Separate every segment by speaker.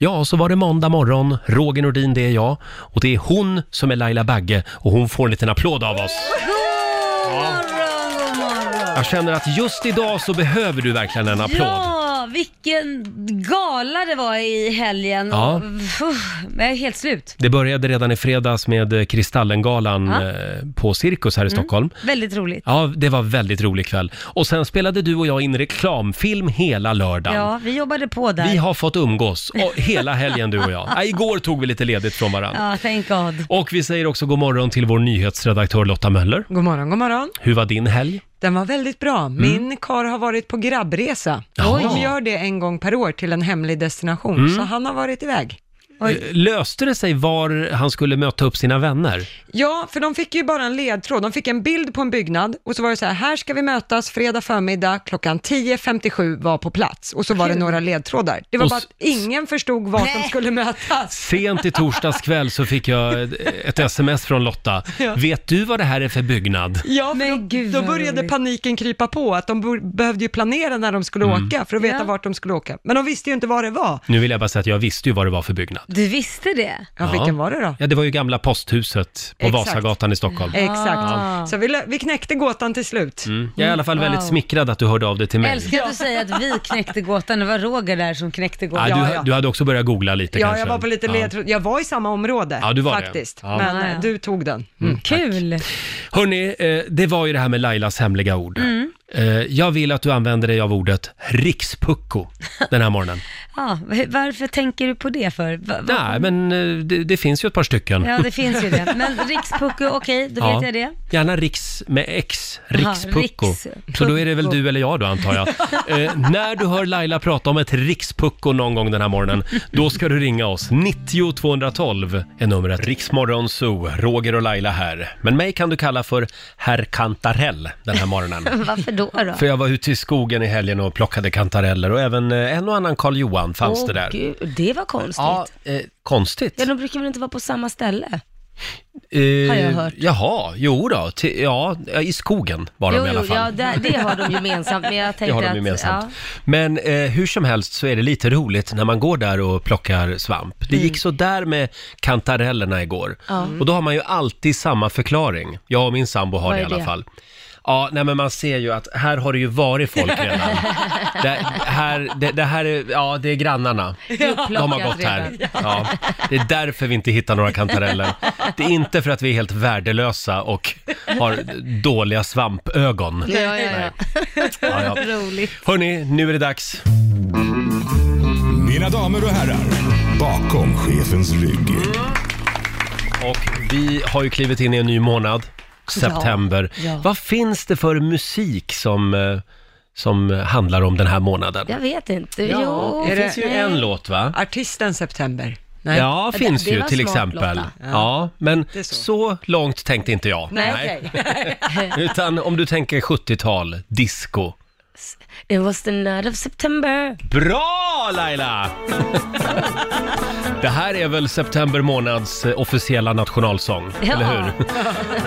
Speaker 1: Ja, så var det måndag morgon. Roger Nordin, det är jag. Och det är hon som är Laila Bagge och hon får en liten applåd av oss.
Speaker 2: morgon, god morgon.
Speaker 1: Jag känner att just idag så behöver du verkligen en applåd.
Speaker 2: Ja, vilken gala det var i helgen.
Speaker 1: Ja.
Speaker 2: Och, uff, men jag är helt slut.
Speaker 1: Det började redan i fredags med eh, Kristallengalan
Speaker 2: Ja. Mm.
Speaker 1: eh, på Cirkus här i Stockholm.
Speaker 2: Väldigt roligt.
Speaker 1: Ja, det var väldigt rolig kväll. Och sen spelade du och jag in reklamfilm hela lördagen.
Speaker 2: Ja, vi jobbade på där.
Speaker 1: Vi har fått umgås och hela helgen du och jag. Ja, igår tog vi lite ledigt från varandra.
Speaker 2: Ja, thank God.
Speaker 1: Och vi säger också god morgon till vår nyhetsredaktör Lotta Möller.
Speaker 3: God morgon, god morgon.
Speaker 1: Hur var din helg?
Speaker 3: Den var väldigt bra.
Speaker 2: Mm.
Speaker 3: Min kar har varit på grabbresa.
Speaker 1: Jaha.
Speaker 3: De gör det en gång per år till en hemlig destination,
Speaker 2: Mm.
Speaker 3: så han har varit iväg.
Speaker 1: Eh, Löste det sig var han skulle möta upp sina vänner?
Speaker 3: Ja, för de fick ju bara en ledtråd. De fick en bild på en byggnad och så var det så här, här ska vi mötas fredag förmiddag klockan 10.57 var på plats. Och så var det några ledtrådar. Det var
Speaker 1: Och
Speaker 3: bara
Speaker 1: s-
Speaker 3: att ingen förstod vart de
Speaker 2: Nej.
Speaker 3: skulle mötas.
Speaker 1: Sent i torsdags kväll så fick jag ett- ett sms från Lotta. Vet du vad det här är för byggnad?
Speaker 3: Ja, för
Speaker 2: Men
Speaker 3: då,
Speaker 2: gud,
Speaker 3: då
Speaker 2: vad
Speaker 3: började
Speaker 2: roligt.
Speaker 3: paniken krypa på, att de bo- behövde ju planera när de skulle åka för att veta
Speaker 2: Mm. Ja.
Speaker 3: vart de skulle åka. Men de visste ju inte vad det var.
Speaker 1: Nu vill jag bara säga att jag visste ju vad det var för byggnad.
Speaker 2: Du visste det?
Speaker 3: Ja,
Speaker 1: Ja.
Speaker 3: vilken var det då?
Speaker 1: Ja, det var ju gamla posthuset på
Speaker 3: Exakt.
Speaker 1: Vasagatan i Stockholm.
Speaker 3: Exakt.
Speaker 2: Ah.
Speaker 3: Så vi, lö- vi knäckte gåtan till slut.
Speaker 1: Mm. Jag är i alla fall väldigt
Speaker 2: Wow.
Speaker 1: smickrad att du hörde av dig till
Speaker 2: Jag
Speaker 1: mig.
Speaker 2: älskar att du säger att vi knäckte gåtan. Det var Roger där som knäckte
Speaker 1: Ja,
Speaker 2: gåtan.
Speaker 1: du,
Speaker 3: Ja, ja.
Speaker 1: du hade också börjat googla lite
Speaker 3: Ja,
Speaker 1: kanske.
Speaker 3: jag var på lite
Speaker 1: Ja.
Speaker 3: ledtråd. Jag var i samma område
Speaker 1: Ja, du var det.
Speaker 3: faktiskt.
Speaker 1: Ja. Mm,
Speaker 3: Men
Speaker 2: Ah, ja.
Speaker 3: eh, du tog den.
Speaker 2: Kul!
Speaker 1: Hörni, eh, det var ju det här med Lailas hemliga ord.
Speaker 2: Mm.
Speaker 1: Eh, Jag vill att du använder dig av ordet rikspucko den här morgonen.
Speaker 2: Ja, v- varför tänker du på det för? Va- va-
Speaker 1: Nej, men eh, det, det finns ju ett par stycken.
Speaker 2: Ja, det finns ju det. Men rikspucko, okej, då
Speaker 1: Ja.
Speaker 2: vet jag det.
Speaker 1: Gärna riks med X,
Speaker 2: Aha,
Speaker 1: rikspucko.
Speaker 2: rikspucko.
Speaker 1: Så då är det väl du eller jag då antar jag. eh, när du hör Laila prata om ett rikspucko någon gång den här morgonen, då ska du ringa oss. 90 212 är numret. Riksmorgon Zoo, Roger och Laila här. Men mig kan du kalla för herr Kantarell den här morgonen.
Speaker 2: Varför då? då?
Speaker 1: För jag var ute i skogen i helgen och plockade kantareller och även eh, en och annan Karl Johan fanns det
Speaker 4: Åh,
Speaker 1: där.
Speaker 4: Gud, det var konstigt.
Speaker 1: Ja,
Speaker 4: Ja.
Speaker 1: eh, konstigt.
Speaker 4: de brukar väl inte vara på samma ställe?
Speaker 1: Eh,
Speaker 4: har jag hört.
Speaker 1: Jaha, jo då. Ti- ja, eh, i skogen var de
Speaker 4: jo,
Speaker 1: i alla
Speaker 4: jo,
Speaker 1: fall.
Speaker 4: ja, det, det har de gemensamt, men jag
Speaker 1: Det
Speaker 4: tänkte
Speaker 1: har de
Speaker 4: att...
Speaker 1: gemensamt.
Speaker 4: Ja.
Speaker 1: Men eh, hur som helst så är det lite roligt när man går där och plockar svamp. Det
Speaker 4: Mm.
Speaker 1: gick så där med kantarellerna igår. Och då har man ju alltid samma förklaring. Jag och min sambo har
Speaker 4: Vad
Speaker 1: det i
Speaker 4: är
Speaker 1: alla
Speaker 4: det?
Speaker 1: fall. Ja, nej men man ser ju att här har det ju varit folk redan. det, här, det, det här är, ja det är grannarna. De har
Speaker 4: plockat
Speaker 1: gått här.
Speaker 4: redan.
Speaker 1: Ja. Det är därför vi inte hittar några kantareller. Det är inte för att vi är helt värdelösa och har dåliga svampögon.
Speaker 4: Ja, ja, ja.
Speaker 1: Ja, ja.
Speaker 4: Roligt.
Speaker 1: Hörni, nu är det dags.
Speaker 5: Mina damer och herrar, bakom chefens rygg.
Speaker 1: Och vi har ju klivit in i en ny månad, september.
Speaker 4: ja.
Speaker 1: Vad finns det för musik som, eh, som handlar om den här månaden?
Speaker 4: Jag vet inte.
Speaker 3: Ja,
Speaker 4: jo,
Speaker 3: är
Speaker 1: det finns ju en
Speaker 4: nej.
Speaker 1: låt va?
Speaker 3: Artisten September. Nej.
Speaker 1: Ja,
Speaker 4: det-
Speaker 1: finns
Speaker 4: det
Speaker 1: ju
Speaker 4: var
Speaker 1: till
Speaker 4: smart,
Speaker 1: exempel.
Speaker 4: Lotta.
Speaker 1: Ja. men
Speaker 3: är
Speaker 1: så.
Speaker 3: så.
Speaker 1: långt tänkte inte jag.
Speaker 3: Nej, okej.
Speaker 1: Utan om du tänker 70-tal, disco.
Speaker 4: It was the night of September.
Speaker 1: Bra Laila! Det här är väl september månads eh, officiella nationalsång,
Speaker 4: Ja.
Speaker 1: eller hur?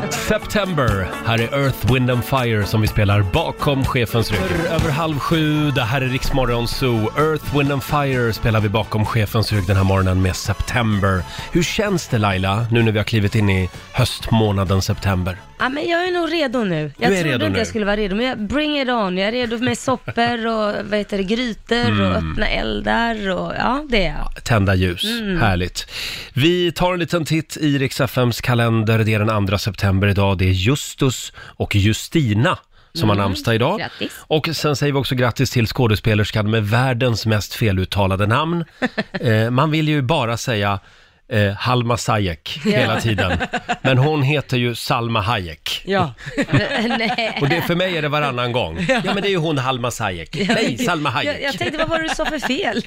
Speaker 1: September, här är Earth, Wind and Fire som vi spelar bakom chefens rygg. Över halv sju, det här är Riksmorgon Zoo. Earth, Wind and Fire spelar vi bakom chefens rygg den här morgonen med September. Hur känns det Laila, nu när vi har klivit in i höstmånaden september?
Speaker 4: Ja, men jag är nog redo nu. Jag
Speaker 1: Du är
Speaker 4: trodde
Speaker 1: redo
Speaker 4: inte
Speaker 1: nu.
Speaker 4: jag skulle vara redo, men jag, bring it on. Jag är redo med soppor och vad heter det, grytor och
Speaker 1: Mm.
Speaker 4: öppna eldar och ja, det är jag.
Speaker 1: tända ljus. Härligt. Vi tar en liten titt i Rix FMs kalender. Det är den 2 september idag. Det är Justus och Justina som har namnsdag idag.
Speaker 4: Grattis.
Speaker 1: Och sen säger vi också grattis till skådespelerskan med världens mest feluttalade namn. eh, man vill ju bara säga eh, Halma Sayek hela tiden. Men hon heter ju Salma Hayek.
Speaker 3: Ja.
Speaker 4: Nej.
Speaker 1: Och det, för mig är det varannan gång. Ja men det är ju hon Halma Sayek. Nej, Salma Hayek.
Speaker 4: Jag, jag tänkte, vad var det du sa för fel?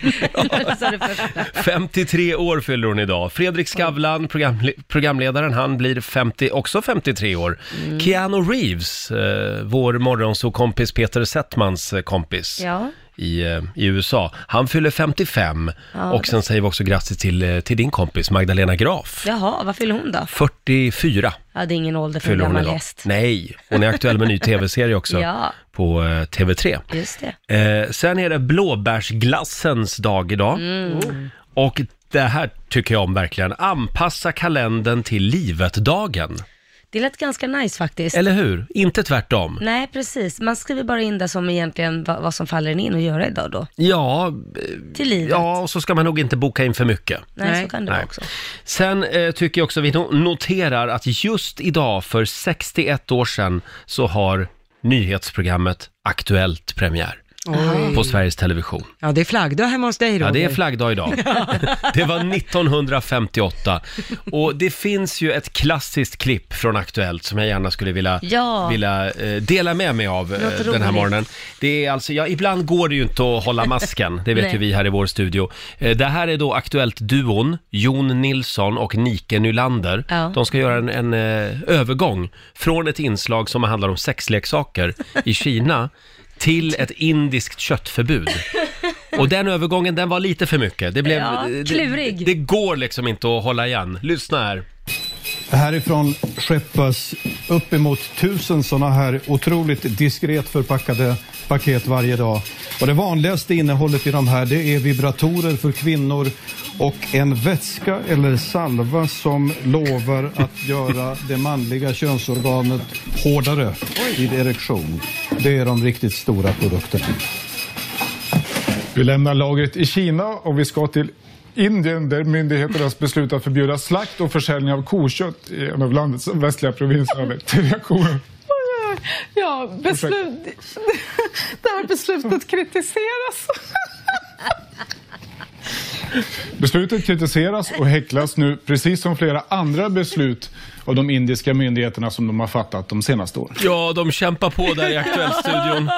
Speaker 4: Jag sa det första.
Speaker 1: 53 år fyller hon idag. Fredrik Skavlan, programle- programledaren, han blir 50, också 53 år.
Speaker 4: Mm.
Speaker 1: Keanu Reeves, eh, vår morgonsåkompis Peter Settmans eh, kompis
Speaker 4: Ja.
Speaker 1: i, eh, i USA, han fyller 55. och sen säger vi också grattis till, eh, till din kompis Magdalena Graf.
Speaker 4: Jaha, vad fyller hon då?
Speaker 1: 44
Speaker 4: Ja, det är ingen ålder för en
Speaker 1: fyller hon
Speaker 4: gammal
Speaker 1: idag.
Speaker 4: häst.
Speaker 1: Nej, hon är aktuell med en ny tv-serie också
Speaker 4: Ja.
Speaker 1: på eh, TV3.
Speaker 4: Just det. Mm.
Speaker 1: Eh, sen är det blåbärsglassens dag idag. Och det här tycker jag om verkligen. Anpassa kalendern till livet-dagen.
Speaker 4: Det lät ganska nice faktiskt.
Speaker 1: Eller hur? Inte tvärtom.
Speaker 4: Nej, precis. Man skriver bara in det som egentligen vad, vad som faller en in att göra idag då.
Speaker 1: Ja,
Speaker 4: Till livet.
Speaker 1: ja, och så ska man nog inte boka in för mycket.
Speaker 4: Nej,
Speaker 3: Nej.
Speaker 4: så kan det
Speaker 1: Nej.
Speaker 4: vara också.
Speaker 1: Sen eh, tycker jag också vi no- noterar att just idag för 61 år sedan så har nyhetsprogrammet Aktuellt premiär
Speaker 3: Oj.
Speaker 1: på Sveriges Television.
Speaker 3: Ja, det är flaggdag hemma hos dig Roger.
Speaker 1: Ja, det är flaggdag idag. Det var 1958. Och det finns ju ett klassiskt klipp från Aktuellt som jag gärna skulle vilja,
Speaker 4: Ja.
Speaker 1: vilja eh, dela med mig av eh,
Speaker 4: Låter
Speaker 1: den här
Speaker 4: roligt.
Speaker 1: morgonen. Det är alltså, ja, ibland går det ju inte att hålla masken, det vet
Speaker 4: Nej.
Speaker 1: ju vi här i vår studio. Eh, det här är då Aktuellt-duon, Jon Nilsson och Nike Nylander.
Speaker 4: Ja.
Speaker 1: De ska göra en, en eh, övergång från ett inslag som handlar om sexleksaker i Kina till ett indiskt köttförbud. Och den övergången, den var lite för mycket. Det blev...
Speaker 4: Ja,
Speaker 1: det-
Speaker 4: klurig.
Speaker 1: Det, det går liksom inte att hålla igen. Lyssna här.
Speaker 6: Härifrån skeppas uppemot tusen sådana här otroligt diskret förpackade paket varje dag. Och det vanligaste innehållet i de här det är vibratorer för kvinnor och en vätska eller salva som lovar att göra det manliga könsorganet hårdare vid erektion. Det är de riktigt stora produkterna.
Speaker 7: Vi lämnar lagret i Kina och vi ska till Indien där myndigheternas beslut att förbjuda slakt och försäljning av kokött i en av landets västliga provinser med tre kor.
Speaker 8: Ja, beslut... Det här beslutet kritiseras.
Speaker 7: Beslutet kritiseras och häcklas nu precis som flera andra beslut av de indiska myndigheterna som de har fattat de senaste åren.
Speaker 1: Ja, de kämpar på där i Aktuellstudion.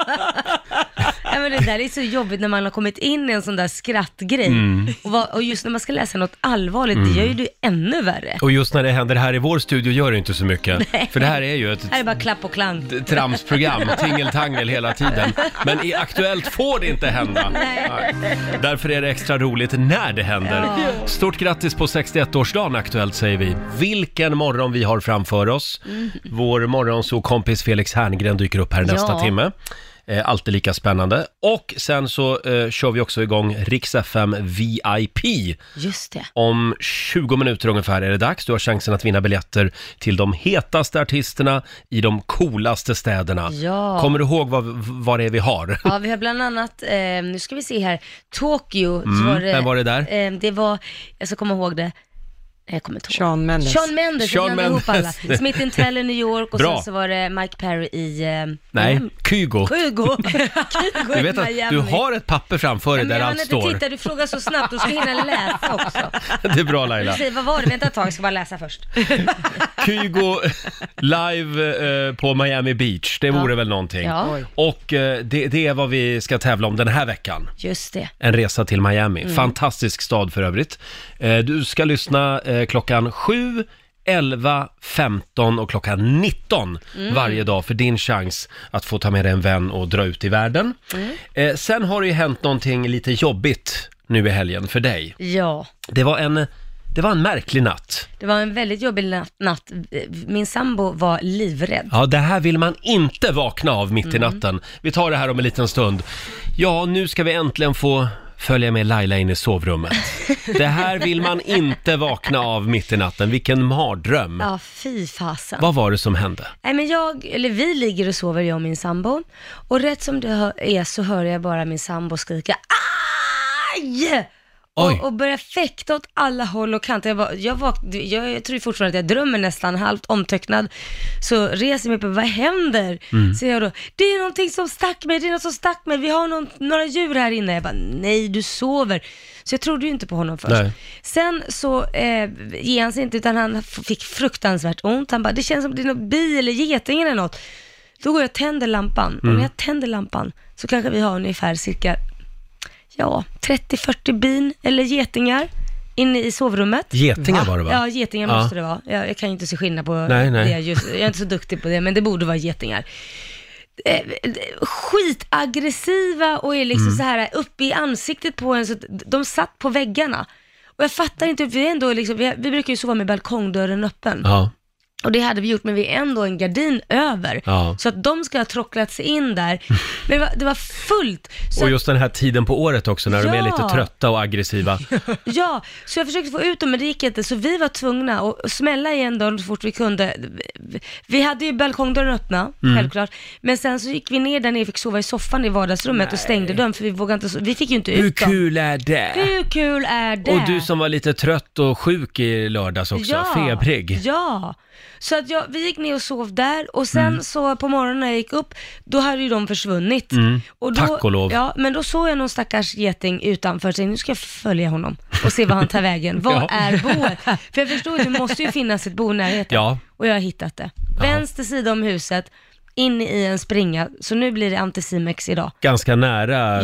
Speaker 4: Nej, men det där är så jobbigt när man har kommit in i en sån där skrattgrej.
Speaker 1: Mm.
Speaker 4: Och, vad, och just när man ska läsa något allvarligt, det gör ju det ännu värre.
Speaker 1: Och just när det händer här i vår studio gör det inte så mycket. För det här är ju ett
Speaker 4: Här är bara klapp och klang.
Speaker 1: t- tramsprogram, tingeltangel hela tiden. Men i Aktuellt får det inte hända. Nej. Därför är det extra roligt när det händer. Stort grattis på 61-årsdagen Aktuellt säger vi. Vilken morgon vi har framför oss.
Speaker 4: Mm.
Speaker 1: Vår morgonsåkompis Felix Herngren dyker upp här nästa
Speaker 4: Ja.
Speaker 1: timme. Eh, alltid lika spännande. Och sen så eh, kör vi också igång Rix FM VIP.
Speaker 4: Just det.
Speaker 1: Om 20 minuter ungefär är det dags. Du har chansen att vinna biljetter till de hetaste artisterna i de coolaste städerna.
Speaker 4: Ja.
Speaker 1: Kommer du ihåg vad, vad det är vi har?
Speaker 4: Ja, vi har bland annat, eh, nu ska vi se här, Tokyo. så var det,
Speaker 1: Mm. vem var det där?
Speaker 4: Eh, det var, jag ska komma ihåg det, Nej, jag kommer inte ihåg.
Speaker 3: Sean Mendes.
Speaker 4: Sean Mendes,
Speaker 1: Shawn
Speaker 4: jag blandade ihop alla.
Speaker 1: Mendes.
Speaker 4: Smith Tell i New York och
Speaker 1: Bra.
Speaker 4: sen så var det Mike Perry i... Eh,
Speaker 1: Nej,
Speaker 4: mm,
Speaker 1: Kygo.
Speaker 4: Kygo. Kygo
Speaker 1: Du
Speaker 4: i
Speaker 1: vet att
Speaker 4: Miami.
Speaker 1: du har ett papper framför dig
Speaker 4: Men
Speaker 1: där
Speaker 4: jag hann
Speaker 1: allt
Speaker 4: inte
Speaker 1: står.
Speaker 4: titta, du frågar så snabbt, du ska hinna läsa också.
Speaker 1: Det är bra
Speaker 4: Du
Speaker 1: Laila.
Speaker 4: säger, vad var det? Vänta ett tag, jag ska bara läsa först.
Speaker 1: Kygo live eh, på Miami Beach, det vore väl någonting.
Speaker 4: Ja. Oj.
Speaker 1: Och eh, det, det är vad vi ska tävla om den här veckan.
Speaker 4: Just det.
Speaker 1: En resa till Miami.
Speaker 4: Mm.
Speaker 1: Fantastisk stad för övrigt. Eh, Du ska lyssna eh, klockan 7, 11, 15 och klockan 19
Speaker 4: Mm.
Speaker 1: varje dag för din chans att få ta med dig en vän och dra ut i världen.
Speaker 4: Mm.
Speaker 1: Eh, Sen har det ju hänt någonting lite jobbigt nu i helgen för dig.
Speaker 4: Ja.
Speaker 1: Det var en, det var en märklig natt.
Speaker 4: Det var en väldigt jobbig na- natt. Min sambo var livrädd.
Speaker 1: Ja, det här vill man inte vakna av mitt
Speaker 4: Mm.
Speaker 1: i natten. Vi tar det här om en liten stund. Ja, nu ska vi äntligen få följa med Laila in i sovrummet. Det här vill man inte vakna av mitt i natten. Vilken mardröm.
Speaker 4: Ja, fy fasen.
Speaker 1: Vad var det som hände?
Speaker 4: Nej, men jag, eller vi ligger och sover, jag och min sambo. Och rätt som det hö- är så hör jag bara min sambo skrika aj!
Speaker 1: Oj.
Speaker 4: Och, och börjar fäkta åt alla håll och kanter. Jag, bara, jag, vak- jag, jag tror fortfarande att jag drömmer nästan halvt omtöcknad. Så reser jag mig upp och vad händer? Så jag då, det är någonting som stack mig, det är något som stack mig, vi har någon, några djur här inne. Jag bara, nej du sover. Så jag trodde ju inte på honom först.
Speaker 1: Nej.
Speaker 4: Sen så eh, ger han sig inte utan han f- fick fruktansvärt ont. Han bara, det känns som det är något bi eller geting eller något. Då går jag och tänder lampan.
Speaker 1: Mm.
Speaker 4: Och när jag tänder lampan så kanske vi har ungefär cirka, ja, 30-40 bin eller getingar inne i sovrummet.
Speaker 1: Getingar var det va?
Speaker 4: Ja, getingar
Speaker 1: Ja.
Speaker 4: måste det vara. Jag, jag kan ju inte se skillnad på
Speaker 1: Nej, nej.
Speaker 4: det just. Jag är inte så duktig på det, men det borde vara getingar. Eh, eh, Skitaggressiva och är
Speaker 1: Mm.
Speaker 4: liksom så här uppe i ansiktet på en. Så att de satt på väggarna. Och jag fattar inte, vi, är ändå liksom, vi, vi brukar ju sova med balkongdörren öppen.
Speaker 1: Ja.
Speaker 4: Och det hade vi gjort, men vi är ändå en gardin över.
Speaker 1: Ja.
Speaker 4: Så att de ska ha trocklat sig in där. Men det var, det var fullt. Så
Speaker 1: Och
Speaker 4: att-
Speaker 1: just den här tiden på året också när de är
Speaker 4: Ja.
Speaker 1: lite trötta och aggressiva.
Speaker 4: Ja, så jag försökte få ut dem men det gick inte så vi var tvungna att smälla igen dörren så fort vi kunde. Vi hade ju balkongdörren öppna,
Speaker 1: Mm.
Speaker 4: självklart. Men sen så gick vi ner där nere, fick sova i soffan i vardagsrummet och stängde dörren för vi vågade inte, so- vi fick ju inte
Speaker 1: Hur
Speaker 4: ut dem.
Speaker 1: kul är det?
Speaker 4: Hur kul är det?
Speaker 1: Och du som var lite trött och sjuk i lördags också, febrig.
Speaker 4: Ja, så att jag, vi gick ner och sov där och sen
Speaker 1: Mm.
Speaker 4: så på morgonen när jag gick upp, då hade ju de försvunnit.
Speaker 1: Mm.
Speaker 4: Och då,
Speaker 1: Tack och lov.
Speaker 4: Ja, men då såg jag någon stackars geting utanför och tänkte, nu ska jag följa honom och se var han tar vägen. Vad
Speaker 1: Ja.
Speaker 4: är boet? För jag förstod att det måste ju finnas ett bo i närheten.
Speaker 1: Ja.
Speaker 4: Och jag har hittat det. Vänster sida om huset, in i en springa, så nu blir det antisimex idag.
Speaker 1: Ganska nära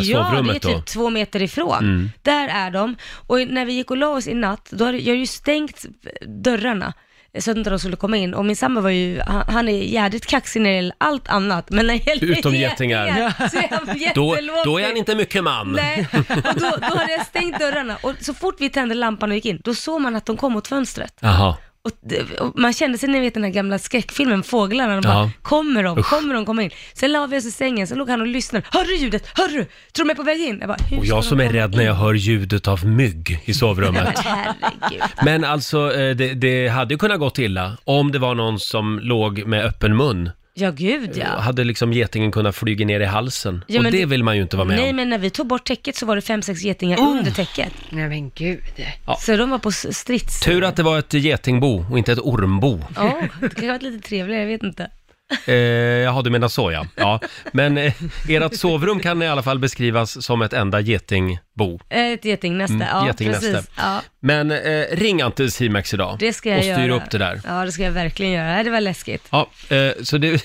Speaker 4: Ja, det är
Speaker 1: Äh, sovrummet då. Mm.
Speaker 4: typ två meter ifrån. Där är de. Och när vi gick och la oss i natt, då hade jag ju stängt dörrarna så att inte de skulle komma in. Och min sambo var ju, han han är jädrigt kaxig när det gäller allt annat. Men när det gäller
Speaker 1: Utom getingar.
Speaker 4: så är han
Speaker 1: Då,
Speaker 4: jättelåg.
Speaker 1: då är han inte mycket man.
Speaker 4: Nej, och då, då hade jag stängt dörrarna. Och så fort vi tände lampan och gick in, då såg man att de kom åt fönstret.
Speaker 1: Jaha.
Speaker 4: Och, det- och man kände sig, ni vet den här gamla skräckfilmen Fåglarna, de bara,
Speaker 1: Ja.
Speaker 4: kommer de,
Speaker 1: Usch.
Speaker 4: kommer de komma in? Sen la vi oss i sängen, sen låg han och lyssnade, hör du ljudet, hör du? Tror de är på väg in? Jag bara, "Hur
Speaker 1: Och
Speaker 4: ska
Speaker 1: jag
Speaker 4: de
Speaker 1: som är
Speaker 4: komma
Speaker 1: rädd när
Speaker 4: in?"
Speaker 1: jag hör ljudet av mygg i
Speaker 4: Nej,
Speaker 1: sovrummet.
Speaker 4: men herregud.
Speaker 1: Men alltså, eh, det, det hade ju kunnat gått illa om det var någon som låg med öppen mun.
Speaker 4: Ja, gud ja.
Speaker 1: Hade liksom getingen kunnat flyga ner i halsen.
Speaker 4: Ja,
Speaker 1: och
Speaker 4: men
Speaker 1: det
Speaker 4: det-
Speaker 1: vill man ju inte vara med
Speaker 4: Nej,
Speaker 1: om.
Speaker 4: men när vi tog bort täcket så var det fem, sex getingar under täcket.
Speaker 3: Nej men gud.
Speaker 4: Så de var på s- strids...
Speaker 1: Tur att det var ett getingbo och inte ett ormbo.
Speaker 4: Ja, det kanske varit lite trevligare, jag vet inte.
Speaker 1: Eh, jaha, du menar så ja. ja. Men eh, ert sovrum kan i alla fall beskrivas som ett enda getingbo.
Speaker 4: Eh, Ett getingnäste,
Speaker 1: Mm,
Speaker 4: ja
Speaker 1: getingnäste.
Speaker 4: precis. Ja,
Speaker 1: Men eh, ring Anticimex idag
Speaker 4: det ska jag
Speaker 1: och
Speaker 4: göra.
Speaker 1: styr upp det där.
Speaker 4: Ja, det ska jag verkligen göra. Det var läskigt.
Speaker 1: Ja, eh, så det,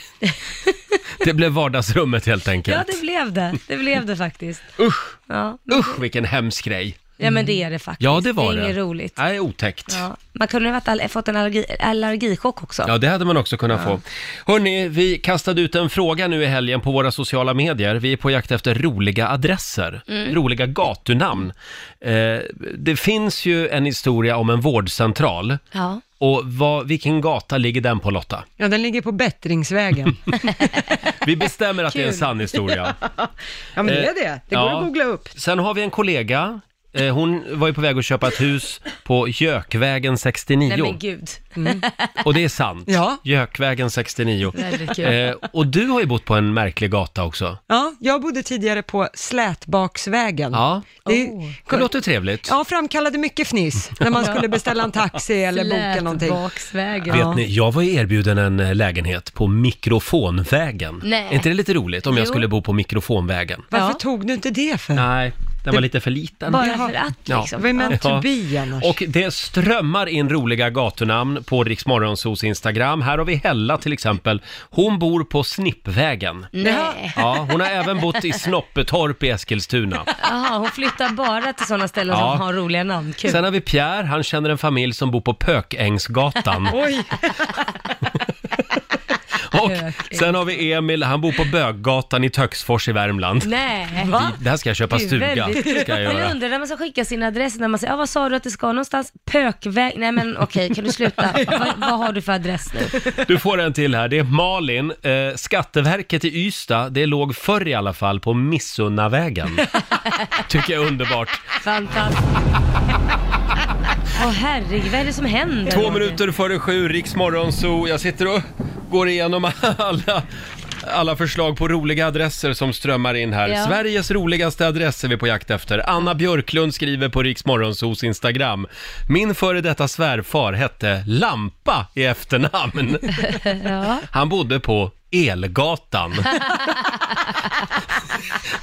Speaker 1: det blev vardagsrummet helt enkelt.
Speaker 4: Ja, det blev det. Det blev det faktiskt.
Speaker 1: Usch,
Speaker 4: Ja,
Speaker 1: usch vilken hemsk grej.
Speaker 4: ja men det är det faktiskt.
Speaker 1: Ja, det var
Speaker 4: Det
Speaker 1: det.
Speaker 4: är inget roligt.
Speaker 1: Nej, otäckt. Ja.
Speaker 4: Ja. Man kunde ha varit all- fått en allergi, allergichock också.
Speaker 1: det hade man också kunnat få. Hörni, vi kastade ut en fråga nu i helgen på våra sociala medier. Vi är på jakt efter roliga adresser,
Speaker 4: Mm.
Speaker 1: roliga gatunamn. Eh, det finns ju en historia om en vårdcentral.
Speaker 4: Ja.
Speaker 1: Och vad, vilken gata ligger den på Lotta?
Speaker 3: Ja, den ligger på bättringsvägen.
Speaker 1: Vi bestämmer att det är en sann historia.
Speaker 3: Ja, men det är det. Det går
Speaker 1: Eh, Ja.
Speaker 3: att googla upp.
Speaker 1: Sen har vi en kollega. Eh, Hon var ju på väg att köpa ett hus på Jökvägen 69.
Speaker 4: Nej men gud.
Speaker 1: Och det är sant.
Speaker 3: Ja.
Speaker 1: Jökvägen 69.
Speaker 4: Väldigt kul.
Speaker 1: Eh, och du har ju bott på en märklig gata också.
Speaker 3: Ja, jag bodde tidigare på Slätbaksvägen.
Speaker 1: Ja,
Speaker 3: Det,
Speaker 1: det låter trevligt.
Speaker 3: ja, framkallade mycket fniss när man skulle beställa en taxi eller boka någonting.
Speaker 4: Slätbaksvägen.
Speaker 1: Vet ni, jag var ju erbjuden en eh, lägenhet på Mikrofonvägen.
Speaker 4: Nej.
Speaker 1: Är inte det lite roligt om jag
Speaker 4: Jo.
Speaker 1: skulle bo på Mikrofonvägen?
Speaker 3: Varför
Speaker 4: Ja.
Speaker 3: tog du inte det för?
Speaker 1: Nej, den var lite för liten.
Speaker 4: Bara för att
Speaker 1: Ja.
Speaker 4: liksom.
Speaker 3: Det var ju meant to
Speaker 1: Ja.
Speaker 3: be annars.
Speaker 1: Och det strömmar in roliga gatunamn på Riksmorgonsos Instagram. Här har vi Hella till exempel. Hon bor på Snippvägen.
Speaker 4: Mm. Nej.
Speaker 1: Ja, hon har även bott i Snoppetorp i Eskilstuna.
Speaker 4: Jaha, hon flyttar bara till sådana ställen
Speaker 1: Ja.
Speaker 4: som har roliga namn. Kul.
Speaker 1: Sen har vi Pierre, han känner en familj som bor på Pökängsgatan.
Speaker 3: Oj,
Speaker 1: Och sen har vi Emil, han bor på Böggatan i Töcksfors i Värmland.
Speaker 4: Nej. Va?
Speaker 1: Det här ska jag köpa stuga. Ska jag
Speaker 4: jag
Speaker 1: göra.
Speaker 4: undrar när man ska skicka sin adress, när man säger, ah, vad sa du att det ska någonstans? Pökväg? Nej men okej, kan du sluta? vad, vad har du för adress nu?
Speaker 1: Du får en till här. Det är Malin. Eh, Skatteverket i Ystad, det låg förr i alla fall på Missunnavägen. Tycker jag är underbart.
Speaker 4: Fantastiskt. Åh herregud, vad är det som händer?
Speaker 1: Två
Speaker 4: Roger?
Speaker 1: minuter före sju, Riksmorgon, så jag sitter och går igenom alla, alla förslag på roliga adresser som strömmar in här.
Speaker 4: Ja.
Speaker 1: Sveriges roligaste adress är vi på jakt efter. Anna Björklund skriver på Riksmorgonsos Instagram. Min före detta svärfar hette Lampa i efternamn. Han bodde på Elgatan.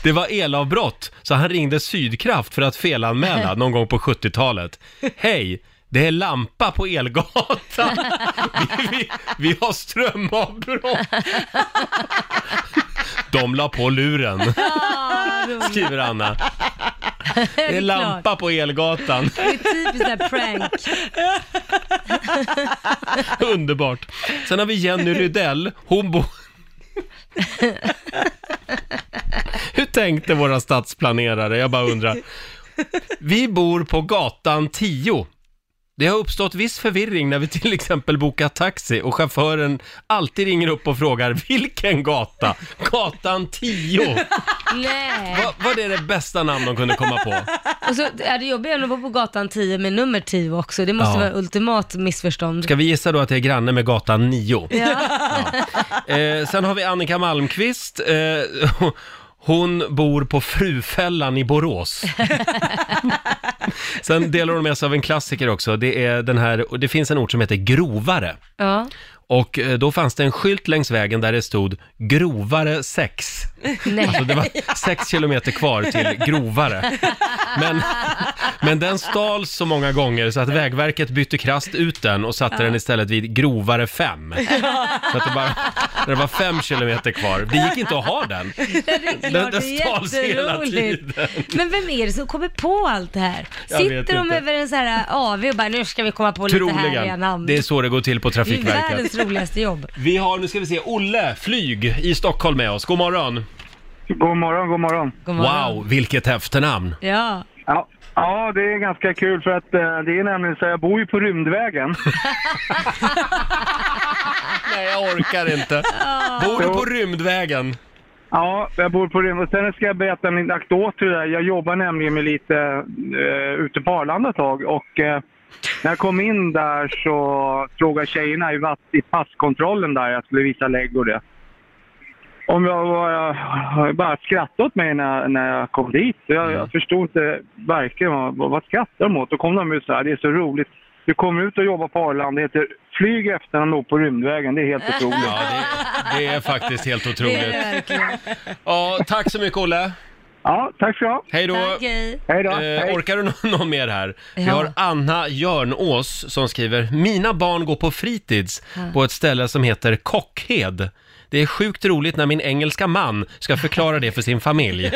Speaker 1: Det var elavbrott, så han ringde Sydkraft för att felanmäla någon gång på 70-talet. Hej! Det är lampa på Elgatan. Vi, vi, vi har strömavbrott. De la på luren,
Speaker 4: Ja, roligt.
Speaker 1: skriver Anna. Det är lampa på Elgatan.
Speaker 4: Det är typiskt där prank.
Speaker 1: Underbart. Sen har vi Jenny Rydell. Hon bor... Hur tänkte våra stadsplanerare? Jag bara undrar. Vi bor på gatan 10 Det har uppstått viss förvirring när vi till exempel bokat taxi och chauffören alltid ringer upp och frågar vilken gata? Gatan 10!
Speaker 4: Nej.
Speaker 1: Va, var det det bästa namn de kunde komma på?
Speaker 4: Och så är det jobbigt att vara på gatan 10 med nummer 10 också. Det måste
Speaker 1: Ja.
Speaker 4: vara ultimat missförstånd.
Speaker 1: Ska vi gissa då att det är granne med gatan 9?
Speaker 4: Ja.
Speaker 1: Eh, sen har vi Annika Malmqvist. Eh, hon bor på Frufällan i Borås. sen delar hon med sig av en klassiker också. Det, är den här, och det finns en ort som heter Grovare.
Speaker 4: ja.
Speaker 1: Och eh, då fanns det en skylt längs vägen där det stod “Grovare 6”. Alltså det var sex kilometer kvar till grovare. Men, men den stals så många gånger så att Vägverket bytte krast ut den och satte den istället vid grovare 5. Så att det bara det var fem kilometer kvar. Det gick inte att ha den.
Speaker 4: Det är
Speaker 1: Den-
Speaker 4: klart, det
Speaker 1: den stals
Speaker 4: är
Speaker 1: hela
Speaker 4: jätteroligt. Men vem är det som kommer på allt det här?
Speaker 1: Jag vet
Speaker 4: Sitter de
Speaker 1: inte.
Speaker 4: över en så här AV och bara nu ska vi komma på lite härliga
Speaker 1: Troligen.
Speaker 4: namn?
Speaker 1: Det är så det går till på
Speaker 4: Det är
Speaker 1: Trafikverket.
Speaker 4: världens roligaste jobb.
Speaker 1: Vi har, nu ska vi se, Olle Flyg i Stockholm med oss. God morgon.
Speaker 9: God morgon, god morgon.
Speaker 4: God morgon.
Speaker 1: Wow, vilket efternamn.
Speaker 4: Ja.
Speaker 9: Ja, ja, det är ganska kul för att eh, det är nämligen så jag bor ju på Rymdvägen.
Speaker 1: Nej, jag orkar inte. Bor du på Rymdvägen?
Speaker 9: Ja, jag bor på Rymdvägen. Och sen ska jag berätta en liten anekdot till det där. Jag jobbar nämligen med lite eh, ute på Arlanda ett tag och eh, när jag kom in där så frågade tjejerna i, vatt, i passkontrollen där jag skulle visa lägg och det. Om jag var, bara skrattade åt mig när, när jag kom dit. Så Jag,
Speaker 1: Mm.
Speaker 9: jag förstod inte verkligen vad, vad vad skrattar de åt. Då kom de ut så här, det är så roligt. Du kommer ut och jobbar på Arlanda, det heter flyg efter och låg på Rymdvägen. Det är helt otroligt.
Speaker 1: Ja, det, det är faktiskt helt
Speaker 4: Det är det
Speaker 1: otroligt.
Speaker 4: verkligen.
Speaker 1: Ja, tack så mycket Olle.
Speaker 9: Ja, tack ska du ha.
Speaker 1: Hej då.
Speaker 4: Tack, hej.
Speaker 9: Hej då.
Speaker 1: Eh,
Speaker 9: Hej.
Speaker 1: orkar du nå- någon mer här? Vi
Speaker 4: Ja.
Speaker 1: har Anna Jörnås som skriver “Mina barn går på fritids på ett ställe som heter Kockhed. Det är sjukt roligt när min engelska man ska förklara det för sin familj.”